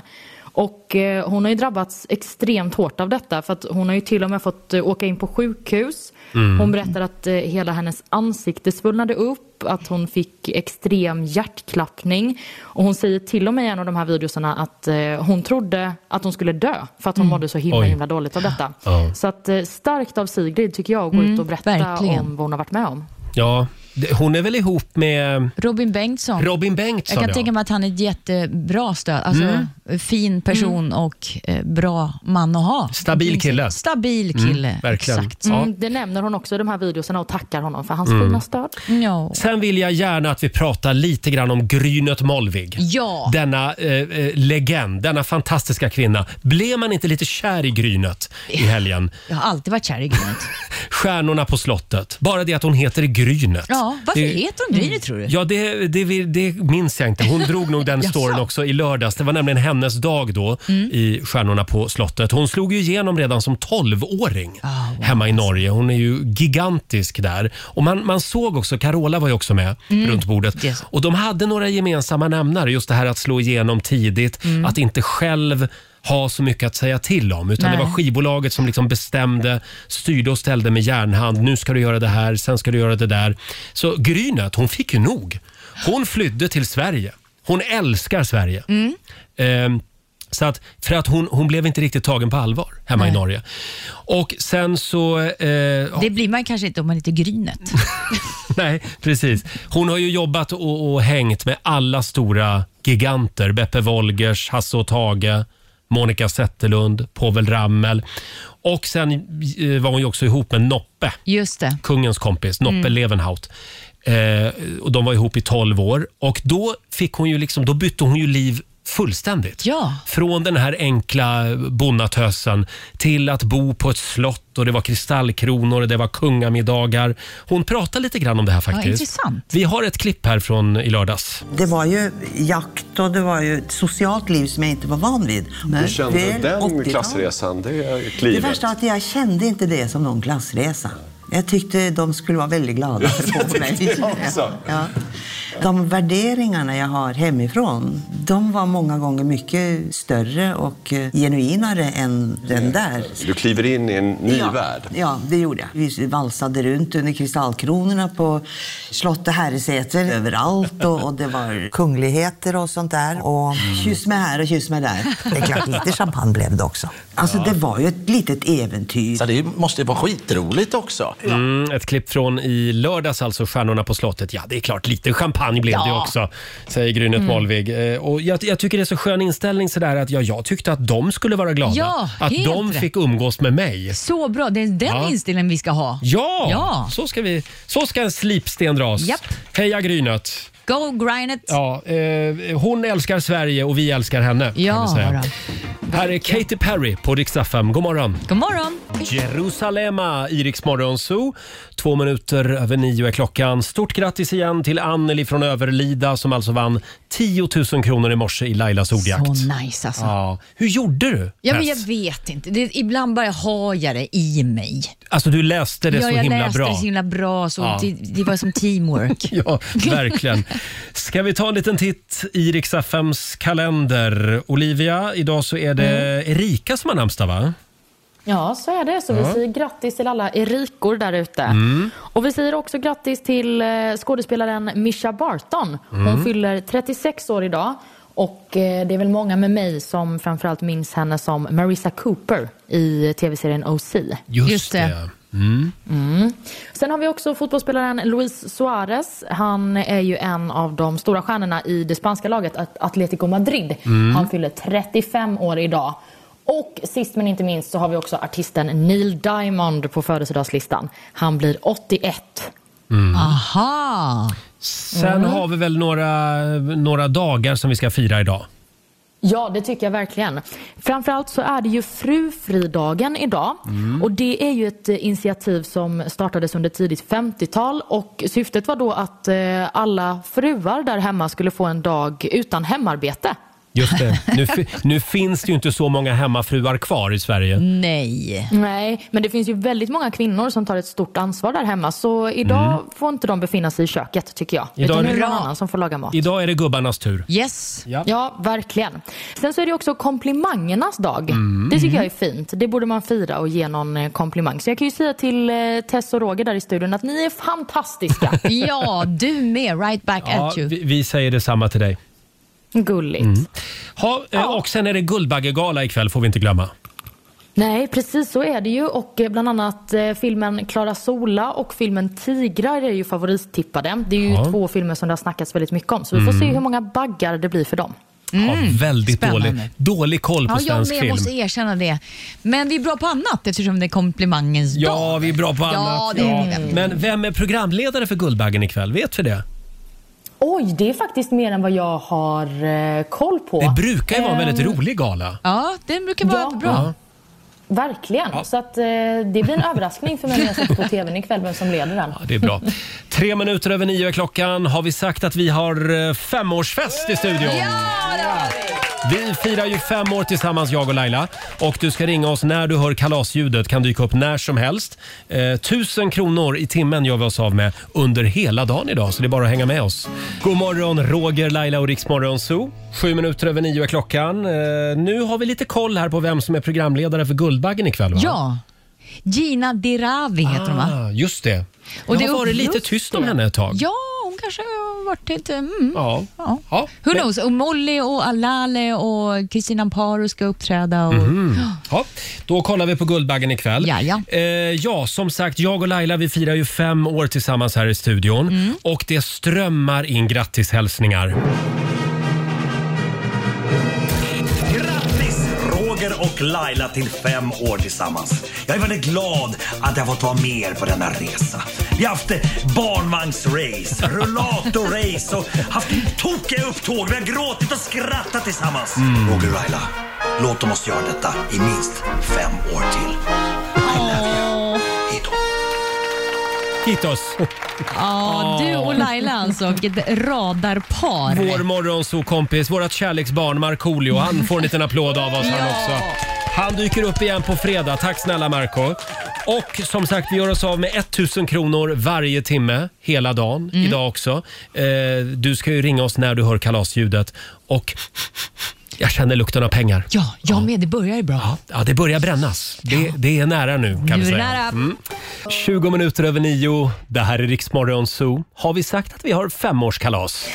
S2: Och eh, hon har ju drabbats extremt hårt av detta för att hon har ju till och med fått eh, åka in på sjukhus.
S18: Mm.
S2: Hon berättar att eh, hela hennes ansikte svullnade upp, att hon fick extrem hjärtklappning. Och hon säger till och med i en av de här videorna att eh, hon trodde att hon skulle dö för att hon mådde så himla,
S18: Mm. Oj.
S2: himla dåligt av detta.
S1: Ja.
S2: Så att, eh, starkt av Sigrid tycker jag att gå
S8: Mm,
S2: ut och berätta
S8: verkligen.
S2: om vad hon har varit med om.
S1: Ja, det- hon är väl ihop med
S8: Robin Bengtsson.
S1: Robin Bengtsson,
S8: Jag kan
S1: ja. Mm.
S8: tänka mig att han är ett jättebra stöd. Alltså, Fin person och eh, bra man att ha.
S1: Stabil kille.
S8: Stabil kille.
S1: Mm, verkligen.
S8: Exakt.
S1: Ja.
S2: Mm, det nämner hon också i de här videorna och tackar honom för hans
S1: Mm.
S2: fina stöd.
S8: Ja.
S1: Sen vill jag gärna att vi pratar lite grann om Grynet Molvig.
S8: Ja.
S1: Denna eh, eh, legend, denna fantastiska kvinna. Blev man inte lite kär i Grynet i helgen?
S8: Jag har alltid varit kär i Grynet.
S1: Stjärnorna på slottet. Bara det att hon heter Grynet.
S8: Ja, varför
S1: Det- Mm.
S8: heter hon Grynet tror du?
S1: Ja, det, det, vi- det minns jag inte. Hon drog nog den
S8: Jaså?
S1: storyn också i lördags. Det var nämligen hennes dag då
S18: Mm.
S1: i Stjärnorna på slottet. Hon slog ju igenom redan som 12-åring
S18: Ah,
S1: hemma i Norge. Hon är ju gigantisk där. Och man, man såg också, Carola var ju också med
S18: Mm.
S1: runt bordet. Och de hade några gemensamma nämnare. Just det här att slå igenom tidigt,
S18: Mm.
S1: att inte själv ha så mycket att säga till om. Utan det
S18: Nej.
S1: var skivbolaget som liksom bestämde, styrde och ställde med järnhand. Nu ska du göra det här, sen ska du göra det där. Så Grynet, hon fick ju nog. Hon flydde till Sverige. Hon älskar Sverige. Ehm, så att, för att hon, hon blev inte riktigt tagen på allvar hemma i Norge. Och sen så... Eh,
S8: Det blir man kanske inte om man heter Grynet.
S1: Nej, precis. Hon har ju jobbat och, och hängt med alla stora giganter. Beppe Wolgers, Hasse och Tage, Monica Zetterlund, Povel Ramel. Och sen eh, var hon ju också ihop med Noppe,
S8: Just det.
S1: kungens kompis, Noppe
S8: Mm.
S1: Levenhaut. Eh, och de var ihop i 12 år och då, fick hon ju liksom, då bytte hon ju liv fullständigt.
S8: Ja.
S1: Från den här enkla bonnatösen till att bo på ett slott och det var kristallkronor och det var kungamiddagar. Hon pratar lite grann om det här faktiskt.
S9: intressant.
S1: Vi har ett klipp här från i lördags.
S9: Det var ju jakt och det var ju ett socialt liv som jag inte var van vid.
S10: Hur kände
S9: Väl 80-tal.
S10: den klassresan, det
S9: Det
S10: klivet?
S9: värsta är att jag kände inte det som någon klassresa. Jag tyckte de skulle vara väldigt glada för att få mig.
S10: jag också.
S9: Ja. De värderingarna jag har hemifrån, de var många gånger mycket större och eh, genuinare än den där.
S10: Mm. Du kliver in i en ny värld.
S9: Ja, det gjorde jag. Vi valsade runt under kristallkronorna på slott och herresäten överallt och, och det var kungligheter och sånt där. Och kyss med här och kyss med där.
S18: Det är klart, lite
S9: champagne blev det också. Alltså det var ju ett litet äventyr.
S18: Så det måste ju vara skitroligt också.
S1: Mm, ett klipp från i lördags, alltså Stjärnorna på slottet. Ja, det är klart, lite champagne blev det
S18: Ja.
S1: också, säger Grynet
S8: Mm.
S1: Malvig. Eh, Och jag, jag tycker det är så skön inställning sådär att ja, jag tyckte att de skulle vara glada.
S8: Ja,
S1: att
S8: helt
S1: de
S8: rätt.
S1: fick umgås med mig.
S8: Så bra, det är den
S1: Ja.
S8: inställningen vi ska ha.
S1: Ja,
S8: Ja.
S1: Så, ska vi, så ska en slipsten dras.
S8: Japp.
S1: Heja Grynet!
S8: Go grind it.
S1: Ja, eh, hon älskar Sverige och vi älskar henne.
S8: Ja,
S1: kan vi säga.
S8: då.
S1: Här är Katy Perry på Rix FM. God morgon!
S8: God morgon.
S1: Jerusalema i Rix Morgon Zoo. Två minuter över nio är klockan. Stort grattis igen till Anneli från Överlida som alltså vann 10 000 kronor i morse i Lailas ordjakt.
S8: Så nice alltså.
S1: Ja. Hur gjorde du?
S8: Ja, men jag
S1: Tess?
S8: vet inte. Det, ibland bara har jag det i mig.
S1: Alltså du läste det
S8: ja,
S1: så
S8: jag
S1: himla
S8: läste
S1: bra.
S8: det så himla bra. Så
S1: Ja.
S8: det, det var som teamwork.
S1: Ja, verkligen. Ska vi ta en liten titt i Rix FMs kalender? Olivia, idag så är det
S8: Mm.
S1: Erika som har namnsdag va?
S2: Ja, så är det. Så
S1: Ja.
S2: vi säger grattis till alla Erikor där ute.
S1: Mm.
S2: Och vi säger också grattis till eh, skådespelaren Misha Barton. Hon
S19: Mm.
S2: fyller 36 år idag. Och eh, det är väl många med mig som framförallt minns henne som Marissa Cooper i tv-serien OC.
S1: Just det. Mm.
S2: Mm. Sen har vi också fotbollsspelaren Luis Suarez. Han är ju en av de stora stjärnorna i det spanska laget At- Atletico Madrid.
S19: Mm.
S2: Han fyller 35 år idag. Och sist men inte minst så har vi också artisten Neil Diamond på födelsedagslistan. Han blir 81.
S1: Mm.
S8: Aha!
S1: Sen
S2: Mm.
S1: har vi väl några, några dagar som vi ska fira idag.
S2: Ja, det tycker jag verkligen. Framförallt så är det ju frufridagen idag.
S1: Mm.
S2: Och det är ju ett eh, initiativ som startades under tidigt 50-tal och syftet var då att eh, alla fruar där hemma skulle få en dag utan hemarbete.
S1: Just det. Nu, fi- nu finns det ju inte så många hemmafruar kvar i Sverige.
S8: Nej.
S2: Nej, men det finns ju väldigt många kvinnor som tar ett stort ansvar där hemma så idag
S1: Mm.
S2: får inte de befinna sig i köket tycker jag.
S1: Idag är det-
S2: Utan nu är det någon annan som får laga mat.
S1: Idag är det gubbarnas tur.
S8: Yes.
S1: Ja.
S2: Ja, verkligen. Sen så är det också komplimangernas dag.
S1: Mm.
S2: Det tycker jag är
S1: Mm.
S2: fint. Det borde man fira och ge någon eh, komplimang. Så jag kan ju säga till eh, Tess och Roger där i studion att ni är fantastiska.
S8: ja, du med. Right back
S1: Ja,
S8: at you.
S1: vi, vi säger detsamma till dig.
S2: Gulligt.
S1: Mm. Ha, eh, Och sen är det Guldbaggegala ikväll, får vi inte glömma.
S2: Nej, precis så är det ju. Och eh, bland annat eh, filmen Klara Sola och filmen Tigrar är ju favorittippade. Det är ju
S1: Ja.
S2: två filmer som det har snackats väldigt mycket om. Så vi får
S1: Mm.
S2: se hur många baggar det blir för dem.
S1: Ha, väldigt dålig, dålig koll på
S8: Mm. Ja, jag
S1: svensk
S8: med,
S1: film.
S8: måste erkänna det. Men vi är bra på annat eftersom det är komplimangens dag.
S1: Ja, vi är bra på
S8: Ja,
S1: annat.
S8: det är vi.
S1: Men vem är programledare för Guldbaggen ikväll? Vet vi det?
S2: Oj, det är faktiskt mer än vad jag har eh, koll på.
S1: Det brukar ju vara en väldigt
S2: Ehm,
S8: Eh.
S1: rolig gala.
S8: Ja, den brukar vara bra.
S1: Ja.
S2: Verkligen. Så att, eh, det blir en överraskning för mig när jag sätter på tvn ikväll vem som leder den.
S1: Det är bra. Tre minuter över nio är klockan. Har vi sagt att vi har eh, femårsfest i studion? Vi firar ju fem år tillsammans, jag och Laila. Och du ska ringa oss när du hör kalasljudet. kan dyka upp när som helst. Eh, tusen kronor i timmen gör vi oss av med under hela dagen idag, så det är bara att hänga med oss. God morgon, Roger, Laila och Riksmorgon Zoo. Sju minuter över nio är klockan. Eh, nu har vi lite koll här på vem som är programledare för Guldbaggen ikväll, va?
S8: Ja. Gina Dirawi heter hon va?
S1: Ah, just det.
S8: Och
S1: det
S8: det
S1: har
S8: är
S1: varit lite
S8: just
S1: tyst om
S8: det.
S1: henne ett tag.
S8: Ja, hon kanske har varit helt... Mm.
S1: Ja.
S8: Ja.
S1: Ja.
S8: Who knows? Och Molly och Alale och Kristina Amparo ska uppträda. Och...
S1: Mhm. Ja, då kollar vi på Guldbaggen ikväll. Ja, ja. Eh, ja, som sagt, jag och Laila vi firar ju fem år tillsammans här i studion. Och det strömmar in grattishälsningar.
S19: Grattis Roger och Laila till fem år tillsammans. Jag är väldigt glad att jag fått vara med er på denna resa. Vi har haft eh, barnvagnsrace, rullatorrace och haft tokiga upptåg. Vi har gråtit och skrattat tillsammans.
S16: Mm.
S19: Roger och Laila, låt oss göra detta i minst fem år till.
S1: Kittos!
S8: Ja, du och Laila alltså, vilket radarpar.
S1: Vår morgonsokompis, vårt kärleksbarn Markoolio, han får en liten applåd av oss han
S8: Ja.
S1: också. Han dyker upp igen på fredag. Tack snälla Marco. Och som sagt, vi gör oss av med 1000 kronor varje timme hela dagen.
S8: Mm.
S1: Idag också. Eh, du ska ju ringa oss när du hör kalasljudet. Och jag känner lukten av pengar.
S8: Ja, jag med. Det börjar bra.
S1: Ja, det börjar brännas. Det, det är nära nu kan
S8: Nu
S1: vi
S8: är det
S1: säga.
S8: nära.
S1: 20 minuter över nio. Det här är Riksmorgon Zoo. Har vi sagt att vi har femårskalas?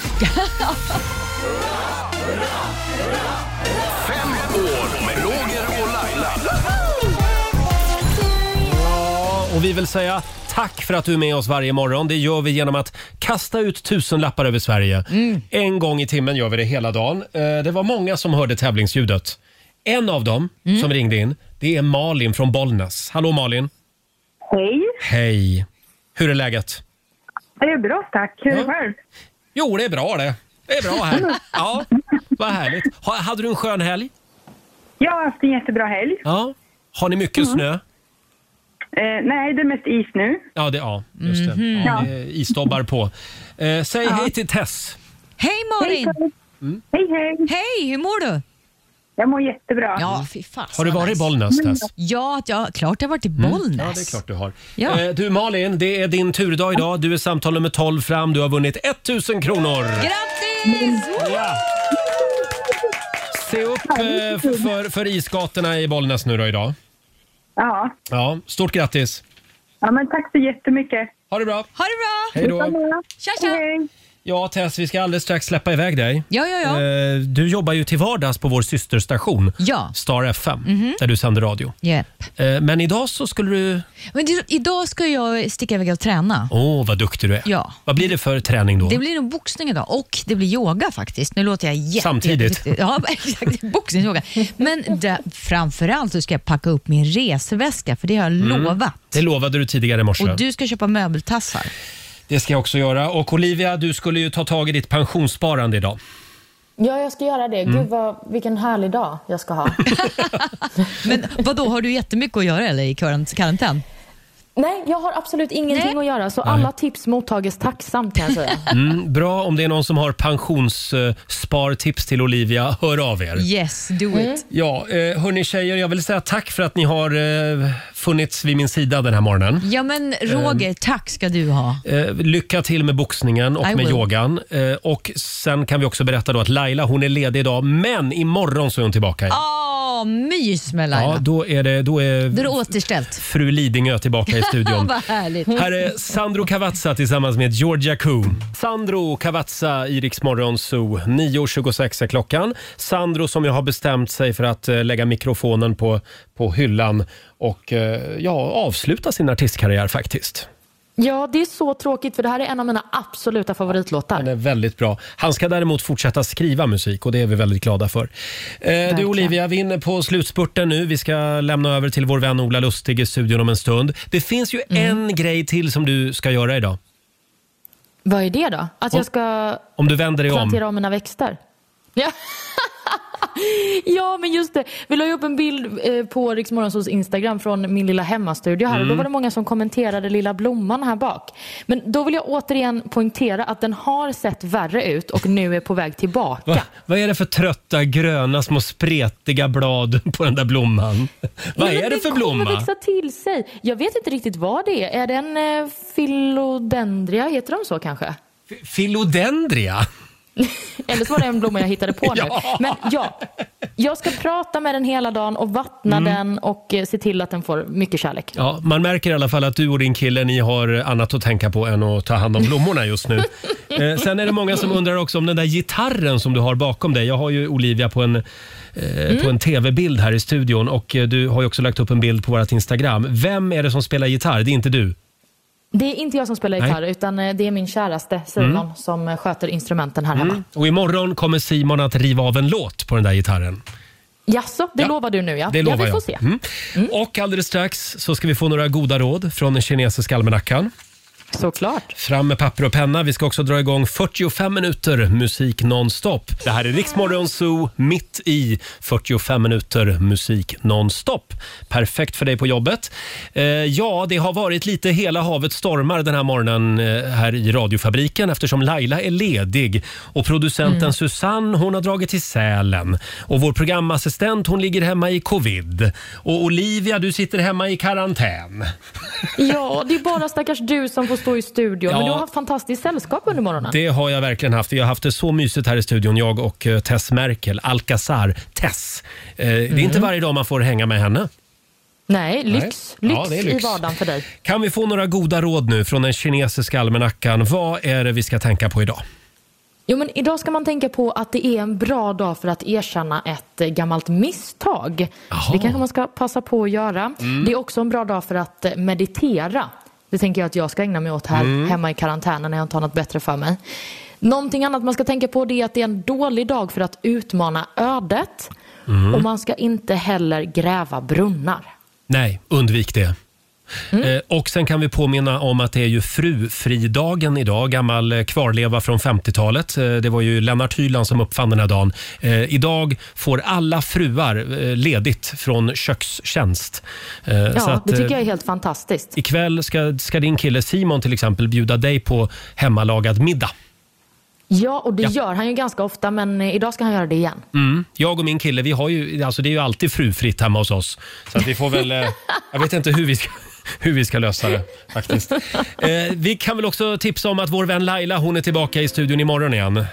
S4: År med Roger och Laila.
S1: Ja, och vi vill säga tack för att du är med oss varje morgon. Det gör vi genom att kasta ut tusenlappar över Sverige. En gång i timmen gör vi det hela dagen. Eh, Det var många som hörde tävlingsljudet. En av dem som ringde in, det är Malin från Bollnäs. Hallå Malin!
S17: Hej.
S1: Hej! Hur är läget?
S17: Det är bra, tack. Hur är det själv?
S1: Jo, det är bra det. Det är bra här. Ja, vad härligt. Ha, hade du en skön helg?
S17: Jag har haft en jättebra helg.
S1: Ja. Har ni mycket
S17: Mm.
S1: snö?
S17: Eh, nej, det är mest is nu.
S1: Ja, det, ja just det.
S17: Mhm.
S1: Ja, det är isdobbar på. Eh, säg hej till Tess.
S8: Hej Malin!
S1: Mm.
S17: Hej, hej!
S8: Hej, hur mår du?
S17: Jag mår jättebra.
S8: Ja, fy fan.
S1: Har du varit i Bollnäs, Tess?
S8: Ja, ja, klart jag har varit i
S1: Mm.
S8: Bollnäs.
S1: Ja, det är klart du har.
S8: Ja.
S1: Eh, du Malin, det är din turdag idag. Du är samtal nummer 12 fram. Du har vunnit 1000 kronor.
S8: Grattis!
S1: Se upp eh, för, för isgatorna i Bollnäs nu då idag.
S17: Ja.
S1: Ja, stort grattis.
S17: ja, men tack så jättemycket.
S1: Ha det bra!
S8: Ha det bra!
S1: Hej då.
S8: Tja, tja!
S1: Ja, Tess, vi ska alldeles strax släppa iväg dig.
S8: Ja, ja, ja.
S1: Eh, Du jobbar ju till vardags på vår systerstation
S8: Ja.
S1: Star FM,
S8: Mhm.
S1: där du sänder radio.
S8: Yeah.
S1: Eh, Men idag så skulle du...
S8: Men du, idag ska jag sticka iväg och träna.
S1: Åh, vad duktig du är.
S8: Ja.
S1: Vad blir det för träning då?
S8: Det blir nog boxning idag och det blir yoga faktiskt. Nu låter jag jätte,
S1: Samtidigt.
S8: jätte- Ja, exakt. Boxningsyoga. Men där, framförallt så ska jag packa upp min resväska för det har jag
S1: Mm.
S8: lovat.
S1: Det lovade du tidigare i morse.
S8: Och du ska köpa möbeltassar.
S1: Det ska jag också göra. Och Olivia, du skulle ju ta tag i ditt pensionssparande idag.
S2: Ja, jag ska göra det.
S1: Mm.
S2: Gud, vad, vilken härlig dag jag ska ha.
S8: Men vad då har du jättemycket att göra eller i karant- karantän?
S2: Nej, jag har absolut ingenting att göra, så
S1: Nej.
S2: alla tips mottages tacksamt kan jag säga.
S1: Mm, bra om det är någon som har pensionsspartips till Olivia. Hör av er.
S8: Yes, do it.
S1: Ja, eh, hörni tjejer, jag vill säga tack för att ni har eh, funnits vid min sida den här morgonen.
S8: Ja men
S1: Ehm.
S8: Roger, tack ska du ha.
S1: Eh, lycka till med boxningen och
S8: I
S1: med
S8: will.
S1: yogan. Eh, och sen kan vi också berätta då att Laila hon är ledig idag, men imorgon så är hon tillbaka igen.
S8: Åh, mys med Laila.
S1: ja, då är det, då är
S8: Då är det återställt.
S1: fru Lidingö tillbaka i studion.
S8: Vad härligt.
S1: Här är Sandro Cavazza tillsammans med Georgia Koo. Sandro Cavazza i Rix Morgon Zoo. 9.26 är klockan. Sandro som jag har bestämt sig för att eh, lägga mikrofonen på, på hyllan och eh, ja, avsluta sin artistkarriär faktiskt.
S2: Ja, det är så tråkigt för det här är en av mina absoluta favoritlåtar.
S1: Den är väldigt bra. Han ska däremot fortsätta skriva musik och det är vi väldigt glada för. Eh, du Olivia, vi är inne på slutspurten nu. Vi ska lämna över till vår vän Ola Lustig i studion om en stund. Det finns ju en grej till som du ska göra idag.
S2: Vad är det då? Att
S1: Om-
S2: jag ska
S1: Om du vänder dig om.
S2: plantera om mina växter? Ja. ja, men just det. Vi la ju upp en bild eh, på Rix Morgonzos Instagram från min lilla hemmastudio här och då
S3: Mm.
S2: var det många som kommenterade lilla blomman här bak. Men då vill jag återigen poängtera att den har sett värre ut och nu är på väg tillbaka.
S1: Va, vad är det för trötta, gröna, små spretiga blad på den där blomman? Vad
S2: Nej, men
S1: är det för
S2: Den kommer liksom-
S1: blomma?
S2: växa till sig. Jag vet inte riktigt vad det är. Är det en eh, philodendria? Heter de så kanske?
S1: Philodendria?
S2: Eller så var det en blomma jag hittade på nu.
S3: Ja.
S2: Men ja, jag ska prata med den hela dagen och vattna
S1: Mm.
S2: den och eh, se till att den får mycket kärlek.
S1: Ja, man märker i alla fall att du och din kille, ni har annat att tänka på än att ta hand om blommorna just nu. eh, sen är det många som undrar också om den där gitarren som du har bakom dig. Jag har ju Olivia på en, eh,
S2: Mm.
S1: på en tv-bild här i studion och eh, du har ju också lagt upp en bild på vårt Instagram. Vem är det som spelar gitarr? Det är inte du.
S2: Det är inte jag som spelar
S1: Nej.
S2: gitarr utan eh, det är min käraste Simon
S1: Mm.
S2: som eh, sköter instrumenten här hemma.
S1: Mm. Och imorgon kommer Simon att riva av en låt på den där gitarren.
S2: Jaså, det lovar du nu ja.
S1: Det
S2: ja,
S1: lovar
S2: vi får
S1: jag.
S2: se.
S1: Mm. Och alldeles strax så ska vi få några goda råd från den kinesiska almanackan.
S2: Såklart.
S1: Fram med papper och penna. Vi ska också dra igång 45 minuter musik nonstop. Det här är Riksmorgon Zoo, mitt i 45 minuter musik nonstop. Perfekt för dig på jobbet. Eh, ja, det har varit lite hela havet stormar den här morgonen eh, här i radiofabriken eftersom Laila är ledig och producenten
S20: Mm.
S1: Susanne hon har dragit till Sälen och vår programassistent hon ligger hemma i covid och Olivia du sitter hemma i karantän.
S2: Ja, det är bara stackars du som får stå i studion. Men
S1: Ja.
S2: du har haft fantastiskt sällskap under morgonen.
S1: Det har jag verkligen haft. Vi har haft det så mysigt här i studion, jag och eh, Tess Merkel, Alcazar, Tess. Eh, Det är inte
S2: Mm.
S1: varje dag man får hänga med henne.
S2: Nej,
S1: Nej.
S2: lyx.
S1: Ja,
S2: Lyx,
S1: det är lyx.
S2: i vardagen för dig.
S1: Kan vi få några goda råd nu från den kinesiska almanackan? Vad är det vi ska tänka på idag?
S2: Jo, men idag ska man tänka på att det är en bra dag för att erkänna ett eh, gammalt misstag. Det kanske man ska passa på att göra.
S3: Mm.
S2: Det är också en bra dag för att eh, meditera. Det tänker jag att jag ska ägna mig åt här
S3: Mm.
S2: hemma i karantänen när jag inte har något bättre för mig. Någonting annat man ska tänka på det är att det är en dålig dag för att utmana ödet.
S1: Mm.
S2: Och man ska inte heller gräva brunnar.
S1: Nej, undvik det.
S2: Mm.
S1: Eh, Och sen kan vi påminna om att det är ju frufridagen idag, gammal eh, kvarleva från 50-talet. Eh, Det var ju Lennart Hyland som uppfann den här dagen. Eh, Idag får alla fruar eh, ledigt från kökstjänst. Eh, så
S2: Ja,
S1: att,
S2: det tycker
S1: eh,
S2: jag är helt fantastiskt.
S1: Ikväll ska, ska din kille Simon till exempel bjuda dig på hemmalagad middag.
S2: Ja, och det
S1: Ja.
S2: gör han ju ganska ofta, men eh, idag ska han göra det igen.
S1: Mm. Jag och min kille, vi har ju, alltså det är ju alltid frufritt hemma hos oss. Så att vi får väl, eh, jag vet inte hur vi ska, hur vi ska lösa det faktiskt. Eh, vi kan väl också tipsa om att vår vän Laila, hon är tillbaka i studion imorgon igen. Eh,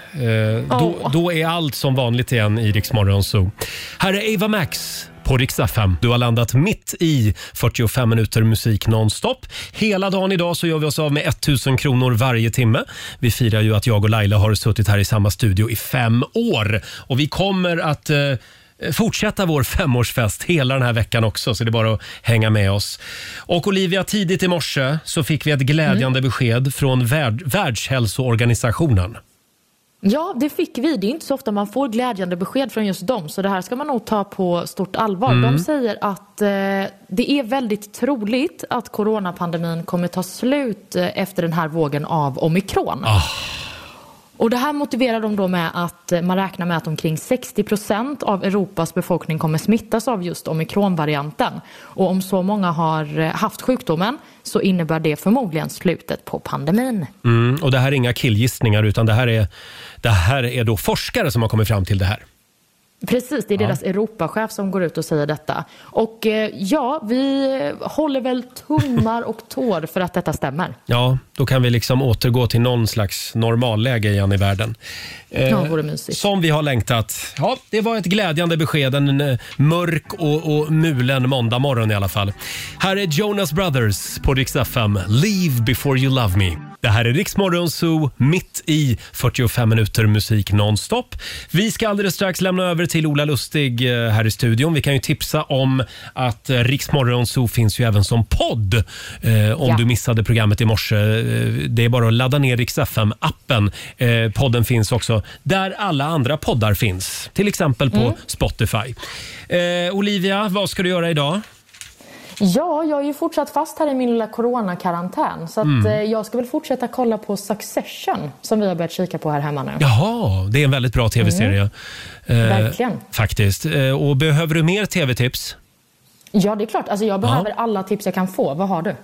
S1: då, då är allt som vanligt igen i Rix Morgon Zoo. Här är Eva Max på Rix FM. Du har landat mitt i 45 minuter musik nonstop. Hela dagen idag så gör vi oss av med 1000 kronor varje timme. Vi firar ju att jag och Laila har suttit här i samma studio i fem år och vi kommer att eh, Fortsätta vår femårsfest hela den här veckan också, så det är bara att hänga med oss. Och Olivia, tidigt i morse så fick vi ett glädjande besked från värld, Världshälsoorganisationen.
S2: Ja, det fick vi. Det är inte så ofta man får glädjande besked från just dem, så det här ska man nog ta på stort allvar.
S1: Mm.
S2: De säger att eh, det är väldigt troligt att coronapandemin kommer ta slut eh, efter den här vågen av omikron. Och det här motiverar de då med att eh, man räknar med att omkring 60% av Europas befolkning kommer smittas av just omikronvarianten. Och om så många har eh, haft sjukdomen så innebär det förmodligen slutet på pandemin.
S1: Mm, och det här är inga killgissningar, utan det här, är, det här är då forskare som har kommit fram till det här.
S2: Precis, det är
S1: Ja.
S2: deras Europachef som går ut och säger detta. Och eh, ja, vi håller väl tummar och tår för att detta stämmer.
S1: Ja, då kan vi liksom återgå till någon slags normalläge igen i världen. Eh,
S2: Ja, vore mysigt.
S1: Som vi har längtat. Ja, det var ett glädjande besked. En eh, mörk och, och mulen måndag morgon i alla fall. Här är Jonas Brothers på Rix FM. Leave before you love me. Det här är Rix Morgon Zoo, mitt i 45 minuter musik nonstop. Vi ska alldeles strax lämna över till Ola Lustig eh, här i studion. Vi kan ju tipsa om att eh, Rix Morgon Zoo finns ju även som podd. Eh, om
S20: Ja.
S1: du missade programmet i morse. eh, Det är bara att ladda ner Rix FM-appen. Eh, podden finns också där alla andra poddar finns. Till exempel på Spotify. Eh, Olivia, vad ska du göra idag?
S2: Ja, jag är ju fortsatt fast här i min lilla coronakarantän. Så att,
S1: Mm.
S2: eh, jag ska väl fortsätta kolla på Succession som vi har börjat kika på här hemma nu.
S1: Jaha, det är en väldigt bra tv-serie. Eh,
S2: Verkligen.
S1: Faktiskt. Eh, och behöver du mer tv-tips?
S2: Ja, det är klart. Alltså, jag behöver alla tips jag kan få. Vad har du?
S1: N-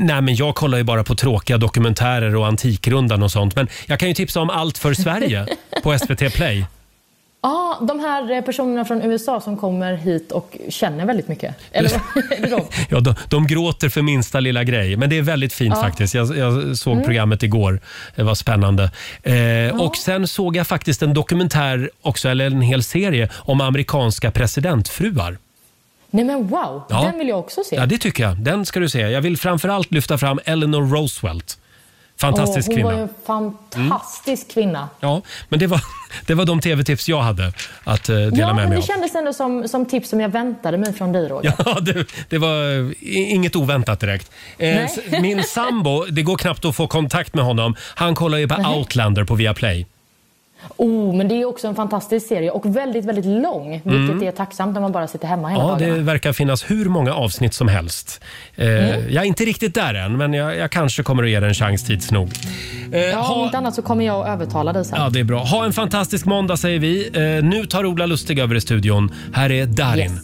S1: Nej, men jag kollar ju bara på tråkiga dokumentärer och Antikrundan och sånt. Men jag kan ju tipsa om Allt för Sverige på SVT Play.
S2: Ja, de här eh, personerna från USA som kommer hit och känner väldigt mycket. Eller
S1: Ja, de, de gråter för minsta lilla grej, men det är väldigt fint
S2: Ja.
S1: faktiskt. Jag, jag såg
S2: Mm.
S1: programmet igår. Det var spännande. Eh, Och sen såg jag faktiskt en dokumentär också, eller en hel serie, om amerikanska presidentfruar.
S2: Nej men wow,
S1: Ja.
S2: den vill jag också se.
S1: Ja, det tycker jag. Den ska du se. Jag vill framförallt lyfta fram Eleanor Roosevelt. Fantastisk
S2: Åh, hon
S1: kvinna.
S2: var ju en fantastisk kvinna.
S1: Ja, men det var, det var de tv-tips jag hade att eh, dela
S2: Ja,
S1: med
S2: men
S1: mig
S2: det
S1: av.
S2: kändes ändå som, som tips som jag väntade mig från dig Roger.
S1: Ja, det, det var eh, i- inget oväntat direkt. Eh,
S2: Nej.
S1: s- min sambo, det går knappt att få kontakt med honom. Han kollar ju på
S2: Nej.
S1: Outlander på Viaplay.
S2: Oh, men det är också en fantastisk serie och väldigt, väldigt lång, vilket
S1: Mm.
S2: är tacksamt när man bara sitter hemma hela
S1: Ja,
S2: dagarna.
S1: det verkar finnas hur många avsnitt som helst. Eh,
S2: Mm.
S1: Jag är inte riktigt där än, men jag, jag kanske kommer att ge den en chans tids nog.
S2: ja, om inte annat så kommer jag att övertala dig sen.
S1: Ja, det är bra. Ha en fantastisk måndag säger vi. Eh, nu tar Ola Lustig över i studion. Här är Darin.
S2: Yes.